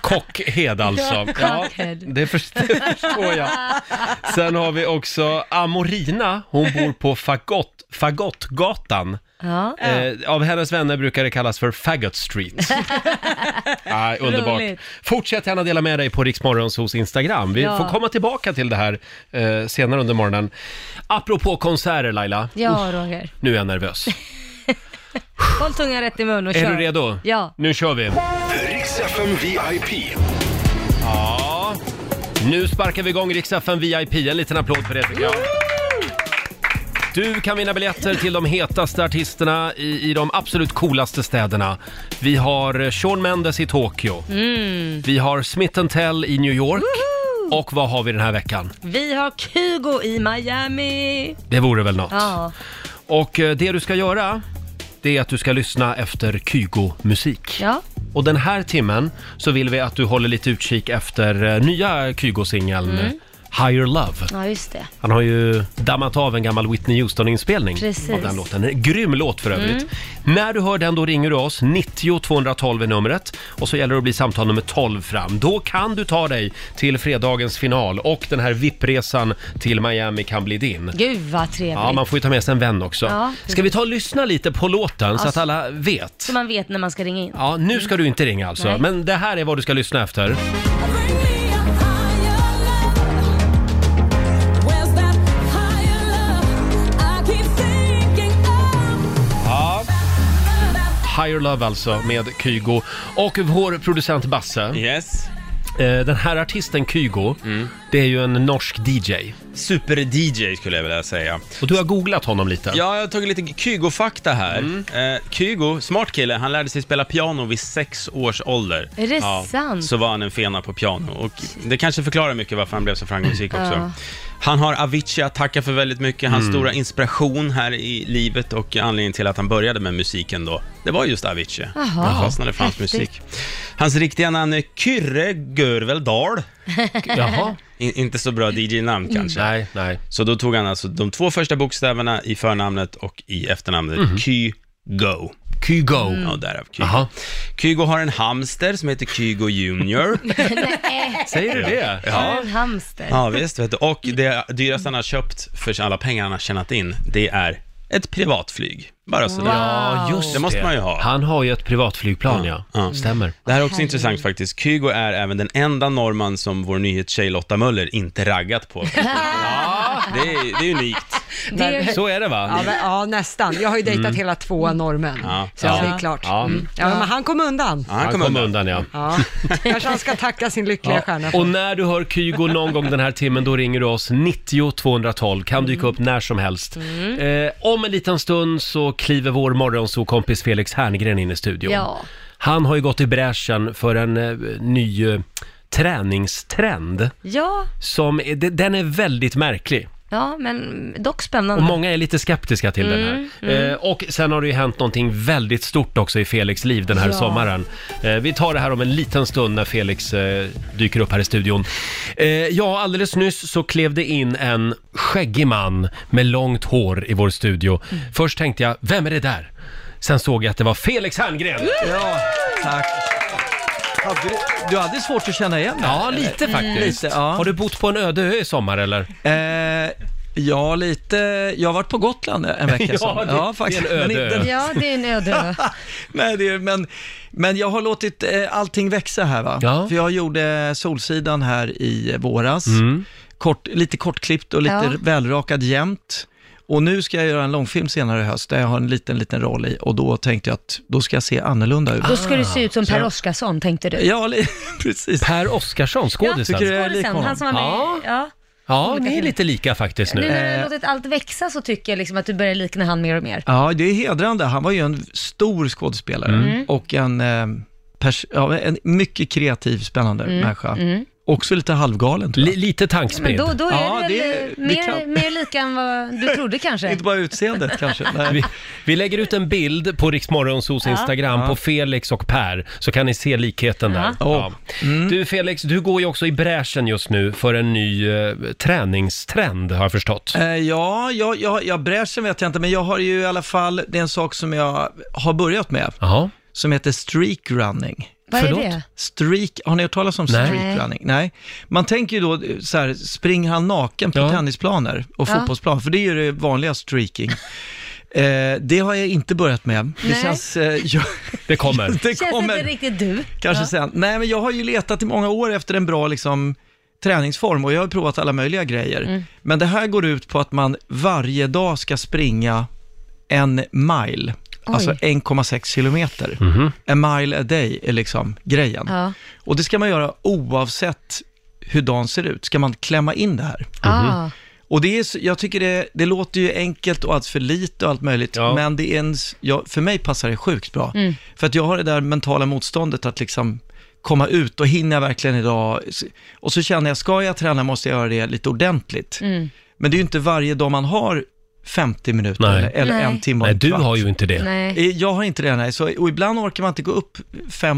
Speaker 1: Kockhed alltså. Ja,
Speaker 4: Kockhed.
Speaker 1: det förstår, det förstår jag. Sen har vi också Amorina, hon bor på Fagott, Fagottgatan.
Speaker 4: Ja.
Speaker 1: Eh, av hennes vänner brukar det kallas för Faggot Street. ah, underbart.
Speaker 4: Roligt.
Speaker 1: Fortsätt gärna dela med dig på Riksmorgonsos Instagram. Vi
Speaker 4: Ja.
Speaker 1: får komma tillbaka till det här eh, senare under morgonen. Apropå konserter Laila,
Speaker 4: Ja, Roger.
Speaker 1: nu är jag nervös.
Speaker 4: Håll tungan rätt i mun och
Speaker 1: Är
Speaker 4: kör.
Speaker 1: du redo?
Speaker 4: Ja.
Speaker 1: Nu kör vi.
Speaker 5: Riks FM VIP.
Speaker 1: Ja. Nu sparkar vi igång Riks-FM VIP. En liten applåd för det tycker jag. Du kan vinna biljetter till de hetaste artisterna i, i de absolut coolaste städerna. Vi har Shawn Mendes i Tokyo. Vi har Smith Tell i New York. Och vad har vi den här veckan?
Speaker 4: Vi har Kygo i Miami.
Speaker 1: Det vore väl något.
Speaker 4: Ja.
Speaker 1: Och eh, det du ska göra, det är att du ska lyssna efter Kygo-musik.
Speaker 4: Ja.
Speaker 1: Och den här timmen så vill vi att du håller lite utkik efter eh, nya Kygo-singeln Higher Love.
Speaker 4: Ja, just det.
Speaker 1: Han har ju dammat av en gammal Whitney Houston-inspelning
Speaker 4: Precis. Mm.
Speaker 1: av den låten. En grym låt för övrigt. När du hör den då ringer du oss, 90 212 är numret och så gäller det att bli samtal nummer 12 fram. Då kan du ta dig till fredagens final och den här VIP-resan till Miami kan bli din.
Speaker 4: Gud vad trevligt.
Speaker 1: Ja, man får ju ta med sig en vän också.
Speaker 4: Ja,
Speaker 1: ska vi ta och lyssna lite på låten så
Speaker 4: Ja,
Speaker 1: att alla vet?
Speaker 4: Så man vet när man ska ringa in.
Speaker 1: Ja, nu ska du inte ringa alltså,
Speaker 4: Nej.
Speaker 1: men det här är vad du ska lyssna efter. Higher Love alltså med Kygo. Och vår producent Basse.
Speaker 10: Yes. Mm.
Speaker 1: Eh, Den här artisten Kygo, det är ju en norsk DJ.
Speaker 10: Super-DJ skulle jag vilja säga.
Speaker 1: Och du har googlat honom lite. Mm.
Speaker 10: Ja, jag har tagit lite Kygo-fakta här. Eh, Kygo, smart kille, han lärde sig spela piano vid sex års ålder.
Speaker 4: Är det sant?
Speaker 10: Så var han en fena på piano och det kanske förklarar mycket varför han blev så framgångsrik också. Han har Avicii att tacka för väldigt mycket,
Speaker 1: Mm.
Speaker 10: hans stora inspiration här i livet och anledningen till att han började med musiken då, det var just Avicii.
Speaker 4: Jaha,
Speaker 10: han fastnade för hans
Speaker 4: häftigt.
Speaker 10: musik. Hans riktiga namn är Kyrre Görvel Dahl.
Speaker 1: Jaha.
Speaker 10: In, inte så bra DJ-namn kanske.
Speaker 1: Mm. Nej, nej.
Speaker 10: Så då tog han alltså de två första bokstäverna i förnamnet och i efternamnet Kygo.
Speaker 1: Mhm. Kygo. Mm.
Speaker 10: Ja, därav Kygo.
Speaker 1: Jaha.
Speaker 10: Kygo har en hamster som heter Kygo Junior.
Speaker 4: Nej,
Speaker 1: Säger du det?
Speaker 4: ja. en hamster.
Speaker 10: ja, visst. Vet du. Och det dyraste han har köpt för alla pengar han har tjänat in, det är ett privatflyg. Bara sådär.
Speaker 1: Ja, just
Speaker 10: Det måste
Speaker 1: det.
Speaker 10: man ju ha.
Speaker 1: Han har ju ett privatflygplan, ja. Stämmer.
Speaker 10: Det här är också intressant faktiskt. Kygo är även den enda norrman som vår nyhetstjej Lotta Möller inte raggat på. Ja, det är, det är unikt.
Speaker 3: Det-
Speaker 10: Så är det va?
Speaker 3: Ja, men, ja, nästan. Jag har ju dejtat
Speaker 10: Mm.
Speaker 3: hela två norrmän.
Speaker 10: Ja.
Speaker 3: Så jag
Speaker 10: Ja.
Speaker 3: säger klart.
Speaker 1: Ja.
Speaker 3: Mm. Ja, men han kom undan.
Speaker 1: Han kom undan, ja.
Speaker 3: Ja. Kanske han ska tacka sin lyckliga stjärna.
Speaker 1: Och när du hör Kygo någon gång den här timmen, då ringer du oss 90 212. Kan dyka upp när som helst. Eh, om en liten stund så kliver vår morgonsokompis Felix Herngren in i studion.
Speaker 2: Ja.
Speaker 1: Han har ju gått i bräschen för en eh, ny eh, träningstrend.
Speaker 4: Ja,
Speaker 1: Som, är- de- den är väldigt märklig.
Speaker 4: ja, men dock spännande.
Speaker 1: Och många är lite skeptiska till
Speaker 4: Mm,
Speaker 1: den här.
Speaker 4: mm.
Speaker 1: Eh, och sen har det ju hänt någonting väldigt stort också i Felix liv den här
Speaker 4: Ja.
Speaker 1: sommaren. Eh, vi tar det här om en liten stund när Felix eh, dyker upp här i studion. Eh, ja, alldeles nyss så klev det in en skäggig man med långt hår i vår studio. Först tänkte jag, vem är det där? Sen såg jag att det var Felix Herngren!
Speaker 11: Ja, tack. Hade du, du hade svårt att känna igen mig?
Speaker 1: Ja, Eh, lite faktiskt. Har du bott på en öde ö i sommar eller?
Speaker 11: Eh, ja, lite. Jag har varit på Gotland en vecka sedan.
Speaker 1: Ja, det- det är en
Speaker 11: Men
Speaker 1: öde
Speaker 11: inte-
Speaker 1: ö.
Speaker 2: Ja, det är en öde ö.
Speaker 11: Nej, det är, men, men jag har låtit eh, allting växa här va?
Speaker 1: Ja.
Speaker 11: För jag gjorde Solsidan här i våras.
Speaker 1: Mm.
Speaker 11: Kort, lite kortklippt och lite
Speaker 2: Ja.
Speaker 11: välrakad jämt. Och nu ska jag göra en långfilm senare i höst där jag har en liten, liten roll i och då tänkte jag att då ska jag se annorlunda ut.
Speaker 2: Då ska du se ut som
Speaker 11: Så
Speaker 2: Per
Speaker 11: jag-
Speaker 2: Oscarsson tänkte du.
Speaker 11: Ja, li- precis.
Speaker 1: Per Oscarsson, skådisen.
Speaker 11: Tycker du jag är lik honom?
Speaker 2: han som var med i- ja.
Speaker 1: Ja, ni är lite lika faktiskt
Speaker 2: Nu
Speaker 1: nu.
Speaker 2: när du har
Speaker 11: Eh.
Speaker 2: låtit allt växa så tycker jag liksom att du börjar likna han mer och mer.
Speaker 11: Ja, det är hedrande. Han var ju en stor skådespelare
Speaker 2: Mm.
Speaker 11: och en, eh, pers- ja, en mycket kreativ, spännande
Speaker 2: Mm,
Speaker 11: människa.
Speaker 2: mm.
Speaker 11: Också lite halvgalen tror jag.
Speaker 1: lite
Speaker 2: Men
Speaker 1: tankspridd.
Speaker 2: då, då är
Speaker 11: Ja,
Speaker 2: du väl
Speaker 11: det-
Speaker 2: eh,
Speaker 11: det
Speaker 2: mer,
Speaker 11: kan-
Speaker 2: mer lika än vad du trodde kanske.
Speaker 11: Inte bara utseendet kanske. Nej.
Speaker 1: Vi, vi lägger ut en bild på Riksmorgonsos
Speaker 2: Ja.
Speaker 1: Instagram på Felix och Per, så kan ni se likheten där.
Speaker 11: Ja.
Speaker 1: Ja.
Speaker 11: Mm.
Speaker 1: Du Felix, du går ju också i bräschen just nu för en ny eh, träningstrend har jag förstått.
Speaker 11: Eh, Ja, jag, jag, jag bräschen vet jag inte, men jag har ju i alla fall, det är en sak som jag har börjat med,
Speaker 1: Jaha.
Speaker 11: som heter streak running.
Speaker 2: Vad är Förlåt? det?
Speaker 11: Streak, har ni hört talas om
Speaker 1: Nej.
Speaker 11: streak running? Nej. Man tänker ju då eh, så här, springer han naken på tennisplaner och
Speaker 2: Ja.
Speaker 11: fotbollsplaner, för det är ju det vanliga streaking. Eh, det har jag inte börjat med. Det
Speaker 2: Nej.
Speaker 11: känns... Eh, jag,
Speaker 1: Det kommer.
Speaker 11: det
Speaker 2: Känns
Speaker 11: kommer.
Speaker 2: inte riktigt du.
Speaker 11: Kanske
Speaker 2: Ja.
Speaker 11: sen. Nej, men jag har ju letat i många år efter en bra liksom, träningsform och jag har provat alla möjliga grejer.
Speaker 2: Mm.
Speaker 11: Men det här går ut på att man varje dag ska springa en mile, alltså 1,6 kilometer. En mile a day är liksom grejen.
Speaker 2: Ja.
Speaker 11: Och det ska man göra oavsett hur dagen ser ut. Ska man klämma in det här?
Speaker 2: Ah.
Speaker 11: Och det är, så- jag tycker det, det låter ju enkelt och allt för lite och allt möjligt,
Speaker 1: Ja.
Speaker 11: men det är en, s- ja, för mig passar det sjukt bra.
Speaker 2: Mm.
Speaker 11: För att jag har det där mentala motståndet att liksom komma ut och hinner jag verkligen idag? S- Och så känner jag, ska jag träna måste jag göra det lite ordentligt.
Speaker 2: Mm.
Speaker 11: Men det är ju inte varje dag man har 50 minuter
Speaker 1: Nej.
Speaker 11: eller, eller
Speaker 2: Nej.
Speaker 11: en timme och
Speaker 1: Nej,
Speaker 11: en
Speaker 1: du
Speaker 11: kvart.
Speaker 1: har ju inte det.
Speaker 2: Nej.
Speaker 11: Eh, Jag har inte det, nej. Så, och ibland orkar man inte gå upp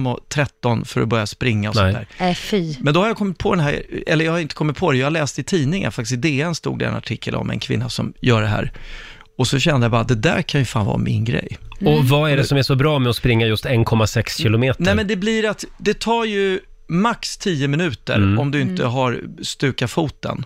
Speaker 11: 5.13 för att börja springa och
Speaker 1: Nej.
Speaker 11: sånt där.
Speaker 2: Nej, Äh, fy.
Speaker 11: Men då har jag kommit på den här, eller jag har inte kommit på det, jag har läst i tidningen, faktiskt i DN stod det en artikel om en kvinna som gör det här. Och så kände jag bara, det där kan ju fan vara min grej.
Speaker 1: Och vad är det som är så bra med att springa just 1,6 kilometer?
Speaker 11: Nej men det blir att, det tar ju max 10 minuter
Speaker 1: Mm.
Speaker 11: om du inte har stukat foten.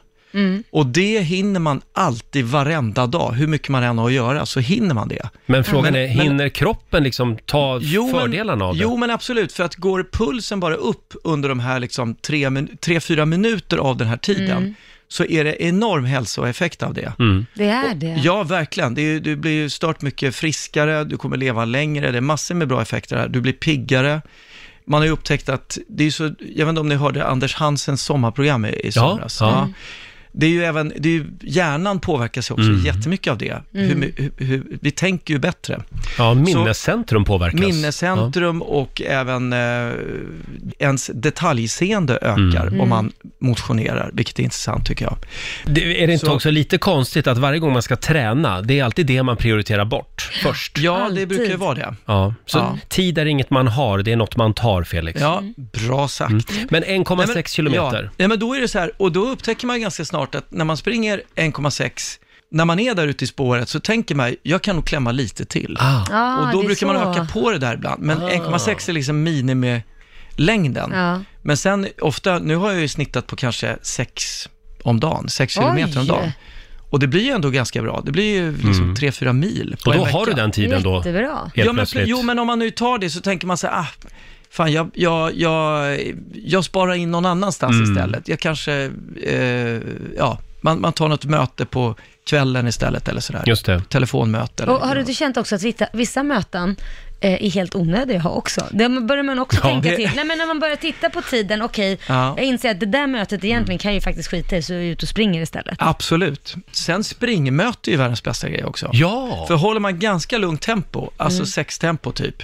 Speaker 11: Och det hinner man alltid varenda dag, hur mycket man än har att göra, så hinner man det.
Speaker 1: Men frågan
Speaker 11: Men-
Speaker 1: är, hinner kroppen liksom ta fördelarna
Speaker 11: men,
Speaker 1: av det?
Speaker 11: Jo, men absolut. För att går pulsen bara upp under de här liksom tre, min- tre, fyra minuter av den här tiden, så är det enorm hälsoeffekt av det.
Speaker 2: Mm.
Speaker 1: Mm.
Speaker 2: Det är det.
Speaker 11: Ja, verkligen. Det är, ju- du blir ju stört mycket friskare, du kommer leva längre, det är massor med bra effekter här. Du blir piggare. Man har ju upptäckt att, det är ju så, jag vet inte om ni hörde Anders Hansens sommarprogram i, i somras.
Speaker 1: ja.
Speaker 11: Det är ju även, det är ju, hjärnan påverkas ju också
Speaker 1: Mm.
Speaker 11: jättemycket av det.
Speaker 2: Mm.
Speaker 11: Hur, my- hur, hur, vi tänker ju bättre.
Speaker 1: Ja, minnescentrum påverkas.
Speaker 11: Minnescentrum och även eh, ens detaljseende ökar om man motionerar, vilket är intressant tycker jag.
Speaker 1: Ja. Mm. Det, är det inte
Speaker 11: Så-
Speaker 1: också lite konstigt att varje gång man ska träna, det är alltid det man prioriterar bort först?
Speaker 11: Ja, det
Speaker 2: Alltid.
Speaker 11: brukar ju vara det.
Speaker 1: Ja, så
Speaker 11: Ja.
Speaker 1: tid är inget man har, det är något man tar, Felix. Mm.
Speaker 11: Ja, bra sagt.
Speaker 1: Men 1,6
Speaker 11: Nej, men-
Speaker 1: kilometer.
Speaker 11: Ja, nej, men då är det så här, och då upptäcker man ganska snart att när man springer 1,6, när man är där ute i spåret så tänker man, jag kan nog klämma lite till.
Speaker 1: Ah.
Speaker 2: Ah,
Speaker 11: och då
Speaker 2: det är
Speaker 11: brukar man
Speaker 2: så.
Speaker 11: öka på det där ibland, men 1,6 är liksom minimilängden.
Speaker 2: Ja.
Speaker 11: Men sen ofta, nu har jag ju snittat på kanske 6 om dagen, 6
Speaker 2: Oj.
Speaker 11: kilometer om dagen. Och det blir ju ändå ganska bra. Det blir ju liksom
Speaker 1: Mm.
Speaker 11: tre fyra mil på
Speaker 1: Och då
Speaker 11: en
Speaker 1: har
Speaker 11: vecka.
Speaker 1: du den tiden då, Jättebra. helt
Speaker 11: Ja, men,
Speaker 1: plötsligt.
Speaker 11: jo, men om man nu tar det så tänker man så här, ah, fan jag, jag, jag, jag sparar in någon annanstans
Speaker 1: Mm.
Speaker 11: istället. Jag kanske, eh, ja, man, man tar något möte på kvällen istället eller sådär.
Speaker 1: Just det.
Speaker 11: Telefonmöte eller
Speaker 4: Och har du inte känt också att vissa, vissa möten eh, är helt onödiga att ha också? Det börjar man också
Speaker 11: Ja,
Speaker 4: tänka
Speaker 11: det-
Speaker 4: till. Nej men när man börjar titta på tiden, okej,
Speaker 11: Ja.
Speaker 4: jag inser att det där mötet egentligen kan jag ju faktiskt skita i, så jag är ute och springer istället.
Speaker 11: Absolut. Sen springmöte är ju världens bästa grej också.
Speaker 1: Ja!
Speaker 11: För håller man ganska lugnt tempo, alltså
Speaker 4: Mm.
Speaker 11: sextempo typ,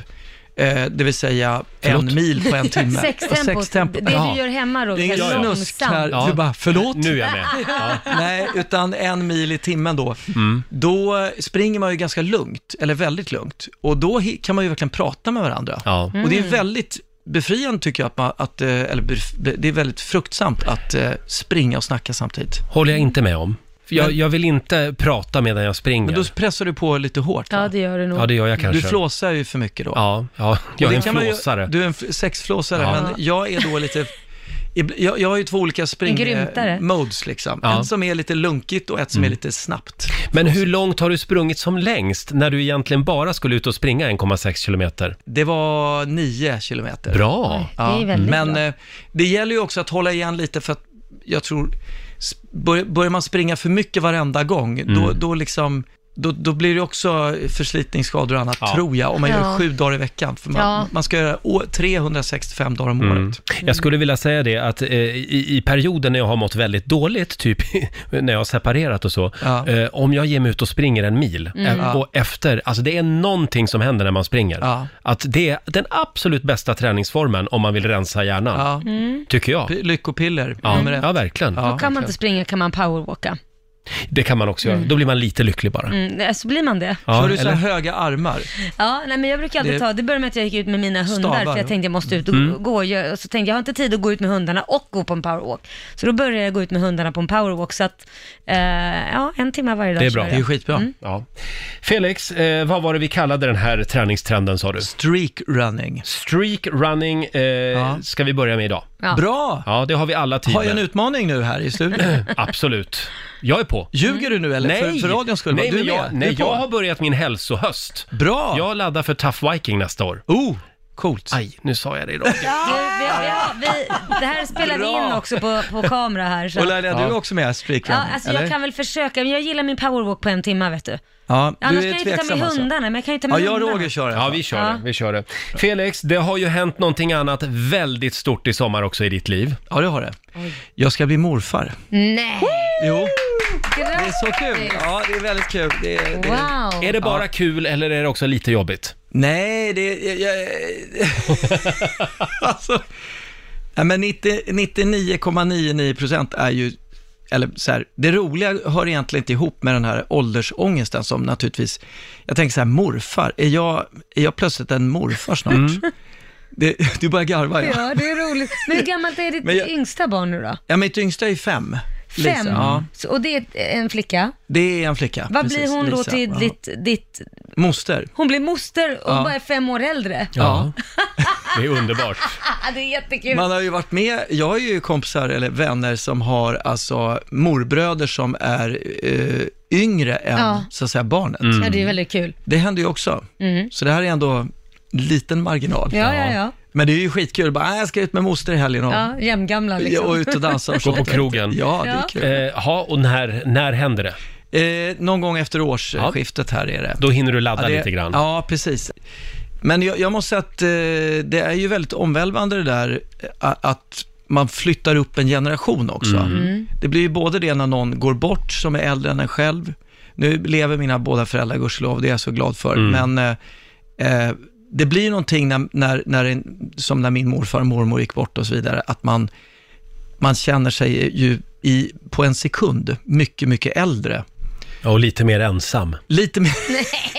Speaker 11: eh, det vill säga en
Speaker 1: Förlåt?
Speaker 11: mil på en timme.
Speaker 4: Sextempo, det du
Speaker 11: Ja.
Speaker 4: gör hemma Roger,
Speaker 11: Det är ingen
Speaker 4: långsamt.
Speaker 11: snusk här. Du bara, förlåt?
Speaker 1: Nu är jag med.
Speaker 11: Nej, utan en mil i timmen då.
Speaker 1: Mm.
Speaker 11: Då springer man ju ganska lugnt, eller väldigt lugnt. Och då hi- kan man ju verkligen prata med varandra.
Speaker 1: Ja.
Speaker 11: Och det är
Speaker 1: Mm.
Speaker 11: väldigt befriande tycker jag, att man, att, eh, eller bef- det är väldigt fruktsamt att eh, springa och snacka samtidigt.
Speaker 1: Håller jag inte med om. För Jag,
Speaker 11: Men-
Speaker 1: jag vill inte prata medan jag springer.
Speaker 11: Men då pressar du på lite hårt.
Speaker 4: Ja, det gör du nog.
Speaker 1: Ja, det gör jag kanske.
Speaker 11: Du flåsar ju för mycket då.
Speaker 1: Ja, ja jag
Speaker 11: Och
Speaker 1: är
Speaker 11: det
Speaker 1: en
Speaker 11: kan man ju-
Speaker 1: flåsare.
Speaker 11: Du är en f- sexflåsare,
Speaker 1: Ja.
Speaker 11: men jag är då lite... ib- Jag, jag har ju två olika
Speaker 4: grymtare.
Speaker 11: spring-modes liksom.
Speaker 1: Ja.
Speaker 11: En som är lite lunkigt och ett som är lite snabbt.
Speaker 1: Mm. Men hur långt har du sprungit som längst när du egentligen bara skulle ut och springa 1,6 kilometer?
Speaker 11: Det var nio kilometer.
Speaker 1: Bra!
Speaker 11: Ja,
Speaker 1: det är väldigt
Speaker 11: men
Speaker 1: bra.
Speaker 11: eh, det gäller ju också att hålla igen lite för att jag tror, s- bör- börjar man springa för mycket varenda gång, då,
Speaker 1: Mm.
Speaker 11: då liksom då, då blir det också förslitningsskador och annat,
Speaker 1: Ja.
Speaker 11: tror jag, om man
Speaker 1: Ja.
Speaker 11: gör sju dagar i veckan. För man,
Speaker 1: Ja.
Speaker 11: man ska göra å- 365 dagar om året.
Speaker 1: Mm. Jag skulle vilja säga det att eh, i, i perioden när jag har mått väldigt dåligt, typ när jag har separerat och så, eh, om jag ger mig ut och springer en mil
Speaker 11: Mm.
Speaker 1: eh, och efter, alltså det är någonting som händer när man springer. Att det är den absolut bästa träningsformen om man vill rensa hjärnan,
Speaker 4: Mm.
Speaker 1: tycker jag.
Speaker 11: lyckopiller,
Speaker 1: ja.
Speaker 4: nummer ett.
Speaker 1: Ja, verkligen.
Speaker 4: Då kan man inte Mm. springa kan man powerwalka.
Speaker 1: Det kan man också göra, då blir man lite lycklig bara.
Speaker 4: Mm, nej, så blir man det.
Speaker 1: Ja,
Speaker 11: Har du så här
Speaker 1: eller?
Speaker 11: höga armar?
Speaker 4: Ja, nej, men jag brukar alltid
Speaker 11: Det-
Speaker 4: ta, det började med att jag gick ut med mina hundar
Speaker 11: Stavar,
Speaker 4: för jag
Speaker 11: va?
Speaker 4: tänkte jag måste ut och
Speaker 11: Mm.
Speaker 4: gå. Jag, och så tänkte jag, jag har inte tid att gå ut med hundarna och gå på en powerwalk. Så då började jag gå ut med hundarna på en powerwalk så att, eh, ja, en timme varje dag
Speaker 1: Det är bra.
Speaker 4: kör jag. Mm.
Speaker 1: Ja. Felix, eh, vad var det vi kallade den här träningstrenden sa du?
Speaker 11: Streak running.
Speaker 1: Streak running eh, ska vi börja med idag.
Speaker 4: Ja.
Speaker 11: Bra!
Speaker 1: Ja, det har vi alla tid
Speaker 11: Har jag
Speaker 1: med.
Speaker 11: en utmaning nu här i studion?
Speaker 1: Absolut. Jag är på.
Speaker 11: Ljuger du nu eller?
Speaker 1: Nej,
Speaker 11: För, för radions skull?
Speaker 1: nej,
Speaker 11: du är
Speaker 1: men jag,
Speaker 11: med?
Speaker 1: nej
Speaker 11: du är på?
Speaker 1: jag har börjat min hälsohöst.
Speaker 11: Bra!
Speaker 1: Jag laddar för Tough Viking nästa år.
Speaker 11: Oh, coolt.
Speaker 1: Aj, nu sa jag det idag.
Speaker 4: Du, vi, vi, vi, det här spelar vi in också på, på kamera här. Så.
Speaker 11: Och Laila, du
Speaker 1: Ja.
Speaker 11: är också med streak
Speaker 4: ja,
Speaker 11: running,
Speaker 4: alltså
Speaker 11: eller?
Speaker 4: jag kan väl försöka, men jag gillar min powerwalk på en timme vet du.
Speaker 11: Ja, du
Speaker 4: Annars
Speaker 11: är
Speaker 4: kan jag inte ta
Speaker 11: tveksam
Speaker 4: med
Speaker 11: alltså.
Speaker 4: hundarna, men jag kan ju ta med hundarna.
Speaker 11: kör
Speaker 1: Ja, vi kör
Speaker 4: Ja.
Speaker 1: det. Vi kör det. Felix, det har ju hänt någonting annat väldigt stort i sommar också i ditt liv.
Speaker 11: Ja, det har det. Jag ska bli morfar.
Speaker 4: Nej!
Speaker 11: Jo.
Speaker 4: Det är
Speaker 11: så kul. Ja, det är väldigt kul. Det, det...
Speaker 4: Wow.
Speaker 1: Är det bara
Speaker 11: Ja.
Speaker 1: kul eller är det också lite jobbigt?
Speaker 11: Nej, det... Jag, jag... alltså... Ja, men 90 99,99 procent är ju... Eller så här, det roliga hör egentligen inte ihop med den här åldersångesten som naturligtvis... Jag tänker så här, morfar, är jag, är jag plötsligt en morfar snart?
Speaker 1: Mm.
Speaker 11: Det, du börjar garva, ja.
Speaker 4: Ja, det är roligt. Men hur gammalt är ditt
Speaker 11: Men jag-
Speaker 4: yngsta barn nu då?
Speaker 11: Ja, mitt yngsta är ju fem.
Speaker 4: Fem?
Speaker 11: Lisa, ja.
Speaker 4: Så, och det är en flicka?
Speaker 11: Det är en flicka.
Speaker 4: Vad
Speaker 11: precis,
Speaker 4: blir hon då
Speaker 11: Lisa.
Speaker 4: till
Speaker 11: Ja.
Speaker 4: ditt, ditt...
Speaker 11: Moster.
Speaker 4: Hon blir moster och
Speaker 11: Ja.
Speaker 4: bara är fem år äldre?
Speaker 11: Ja.
Speaker 1: Det är underbart.
Speaker 4: det är jättekul.
Speaker 11: Man har ju varit med, jag har ju kompisar eller vänner som har alltså morbröder som är eh, yngre än
Speaker 4: Ja.
Speaker 11: så att säga barnet.
Speaker 1: Mm.
Speaker 4: Ja, det är väldigt kul.
Speaker 11: Det händer ju också.
Speaker 4: Mm.
Speaker 11: Så det här är ändå liten marginal.
Speaker 4: Ja, ja, ja.
Speaker 11: Men det är ju skitkul, bara, "Ah, jag ska ut med moster i helgen och,
Speaker 4: Ja, jämngamla liksom.
Speaker 11: och ut och dansa och
Speaker 1: Gå på
Speaker 11: sånt."
Speaker 1: krogen.
Speaker 11: Ja, det
Speaker 4: Ja.
Speaker 11: är kul.
Speaker 1: Eh, ha, och när, när händer det?
Speaker 11: Eh, någon gång efter årsskiftet här är det.
Speaker 1: Då hinner du ladda
Speaker 11: Ja, det-
Speaker 1: lite grann.
Speaker 11: Ja, precis. Men jag, jag måste säga att eh, det är ju väldigt omvälvande det där eh, a- att man flyttar upp en generation också.
Speaker 1: Mm. Mm.
Speaker 11: Det blir ju både det när någon går bort som är äldre än en själv. Nu lever mina båda föräldrar gudskelov, det är jag så glad för.
Speaker 1: Mm.
Speaker 11: Men eh, eh, det blir någonting när, när, när, en- som när min morfar och mormor gick bort och så vidare, att man, man känner sig ju i, på en sekund mycket, mycket äldre.
Speaker 1: Ja, och lite mer ensam.
Speaker 11: Lite mer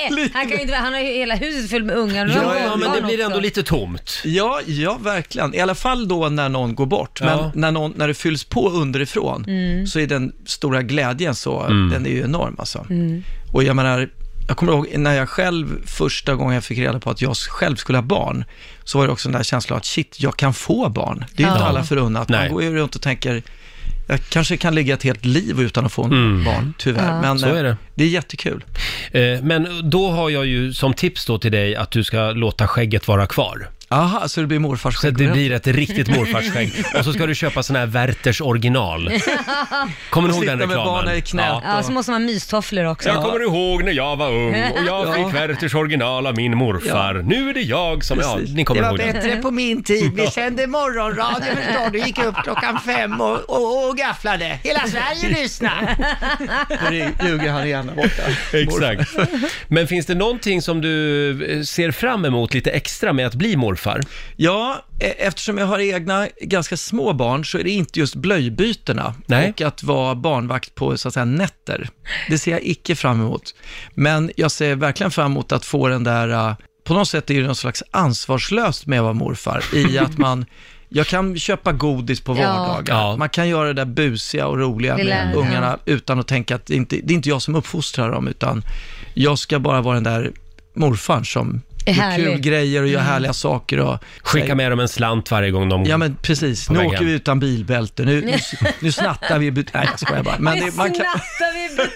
Speaker 4: Nej, han, kan ju inte, vara- han har ju hela huset fullt med ungar. och
Speaker 11: Ja,
Speaker 4: barn-
Speaker 11: ja, men
Speaker 4: barn
Speaker 11: det blir
Speaker 4: också.
Speaker 11: ändå
Speaker 1: Lite tomt.
Speaker 11: Ja, ja, verkligen. I alla fall då när någon går bort. Men
Speaker 1: Ja.
Speaker 11: när, någon, när det fylls på underifrån
Speaker 4: Mm.
Speaker 11: så är den stora glädjen så,
Speaker 1: Mm.
Speaker 11: den är ju enorm alltså.
Speaker 4: Mm.
Speaker 11: Och jag menar, jag kommer ihåg när jag själv, första gången jag fick reda på att jag själv skulle ha barn, så var det också den där känslan att shit, jag kan få barn. Det är ju
Speaker 1: Ja.
Speaker 11: inte alla förunnat. Man
Speaker 1: Nej.
Speaker 11: går ju runt och tänker, jag kanske kan ligga ett helt liv utan att få
Speaker 1: Mm.
Speaker 11: barn, tyvärr.
Speaker 1: Ja.
Speaker 11: Men
Speaker 1: Så
Speaker 11: eh,
Speaker 1: är det.
Speaker 11: det är jättekul.
Speaker 1: Eh, Men då har jag ju som tips då till dig att du ska låta skägget vara kvar.
Speaker 11: Aha, så det blir morfars
Speaker 1: Så
Speaker 11: skägg
Speaker 1: det
Speaker 11: på
Speaker 1: blir
Speaker 11: den?
Speaker 1: ett riktigt morfarsskägg. Och så ska du köpa sån här Werthers original. Kommer ni ihåg
Speaker 11: Sitta
Speaker 1: den
Speaker 11: med
Speaker 1: reklamen?
Speaker 11: barnen i knät
Speaker 2: Ja, så måste man ha mystofflor också.
Speaker 1: Jag kommer ihåg när jag var ung och jag
Speaker 2: Ja.
Speaker 1: fick Werthers original av min morfar. Nu är det jag som... Ja,
Speaker 11: Precis.
Speaker 1: ni kommer
Speaker 11: Det var
Speaker 1: ihåg den.
Speaker 11: bättre
Speaker 12: på min tid.
Speaker 1: Ja.
Speaker 12: Vi sände morgonradio förstår du. Gick upp klockan fem och, och, och gafflade. Hela Sverige lyssnade.
Speaker 11: Nu ljuger han igen där borta.
Speaker 1: Exakt. Men finns det någonting som du eh, ser fram emot lite extra med att bli morfar?
Speaker 11: Ja, e- eftersom jag har egna ganska små barn så är det inte just blöjbytena
Speaker 1: Nej.
Speaker 11: och att vara barnvakt på så att säga, nätter. Det ser jag icke fram emot. Men jag ser verkligen fram emot att få den där, eh, på något sätt är det någon slags ansvarslöst med att vara morfar i att man jag kan köpa godis på
Speaker 12: Ja.
Speaker 11: vardagar. Man kan göra det där busiga och roliga med
Speaker 12: Lilla-
Speaker 11: ungarna utan att tänka att det, inte, det är inte jag som uppfostrar dem, utan jag ska bara vara den där morfarn som
Speaker 12: Är
Speaker 11: gör
Speaker 12: härlig.
Speaker 11: kul grejer och gör
Speaker 12: Mm.
Speaker 11: härliga saker. Och,
Speaker 1: Skicka med dem en slant varje gång de
Speaker 11: Ja men precis,
Speaker 1: på
Speaker 11: nu
Speaker 1: väg
Speaker 11: åker
Speaker 1: hem.
Speaker 11: vi utan bilbälte, nu, nu, nu snattar vi i but- Nej jag skojar bara. Men det, man, kan,
Speaker 2: snattar vi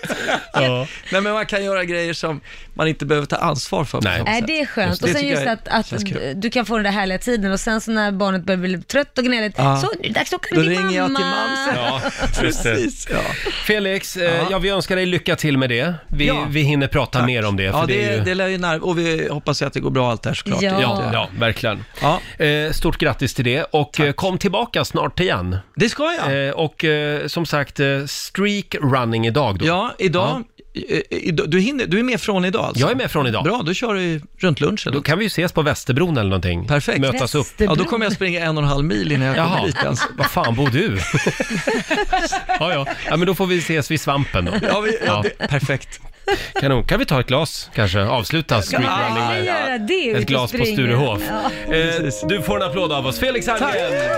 Speaker 11: nej, men man kan göra grejer som man inte behöver ta ansvar för. på samma
Speaker 2: Nej,
Speaker 11: sätt.
Speaker 2: det är skönt. och sen
Speaker 11: tycker
Speaker 2: just
Speaker 11: jag
Speaker 2: att, att
Speaker 11: känns kul.
Speaker 2: du kan få den där härliga tiden och sen så när barnet börjar bli trött och gnälligt,
Speaker 11: Ja.
Speaker 2: så nu är det dags att åka
Speaker 11: Då
Speaker 2: till
Speaker 11: ringer jag
Speaker 2: mamma.
Speaker 11: till mamsen.
Speaker 1: Ja, just det.
Speaker 11: Precis, ja.
Speaker 1: Felix, eh, ja. vi önskar dig lycka till med det. Vi,
Speaker 11: Ja.
Speaker 1: vi hinner prata mer om det. För
Speaker 11: Ja, det,
Speaker 1: det, är ju...
Speaker 11: det lär ju när, och vi hoppas ju att det går bra allt det här såklart.
Speaker 1: Ja.
Speaker 11: Det-
Speaker 1: Ja, verkligen. Eh, stort grattis till det och eh, kom tillbaka snart igen.
Speaker 11: Det ska
Speaker 1: jag. Eh, och eh, som sagt, eh, streak running idag då.
Speaker 11: Ja, idag. i- i- Du, hinner, du är med från idag alltså?
Speaker 1: Jag är med från idag.
Speaker 11: Bra, då kör du runt lunchen.
Speaker 1: Då kan vi ju ses på Västerbron eller någonting.
Speaker 11: Perfekt.
Speaker 1: Mötas upp.
Speaker 11: Ja, då kommer jag springa en och en halv mil innan jag kommer
Speaker 1: Jaha,
Speaker 11: dit alltså. ens.
Speaker 1: vad fan bor du? ja, ja. ja, men då får vi ses vid svampen då.
Speaker 11: Ja, vi- ja, det- perfekt.
Speaker 1: Kanon. Kan vi ta ett glas kanske? Avsluta streak
Speaker 2: Ja,
Speaker 1: running
Speaker 2: vi
Speaker 1: med-
Speaker 2: kan göra det ute
Speaker 1: ett
Speaker 2: och
Speaker 1: glas på
Speaker 2: springa.
Speaker 1: Sturehof.
Speaker 2: Ja.
Speaker 1: Eh, du får en applåd av oss, Felix Herngren!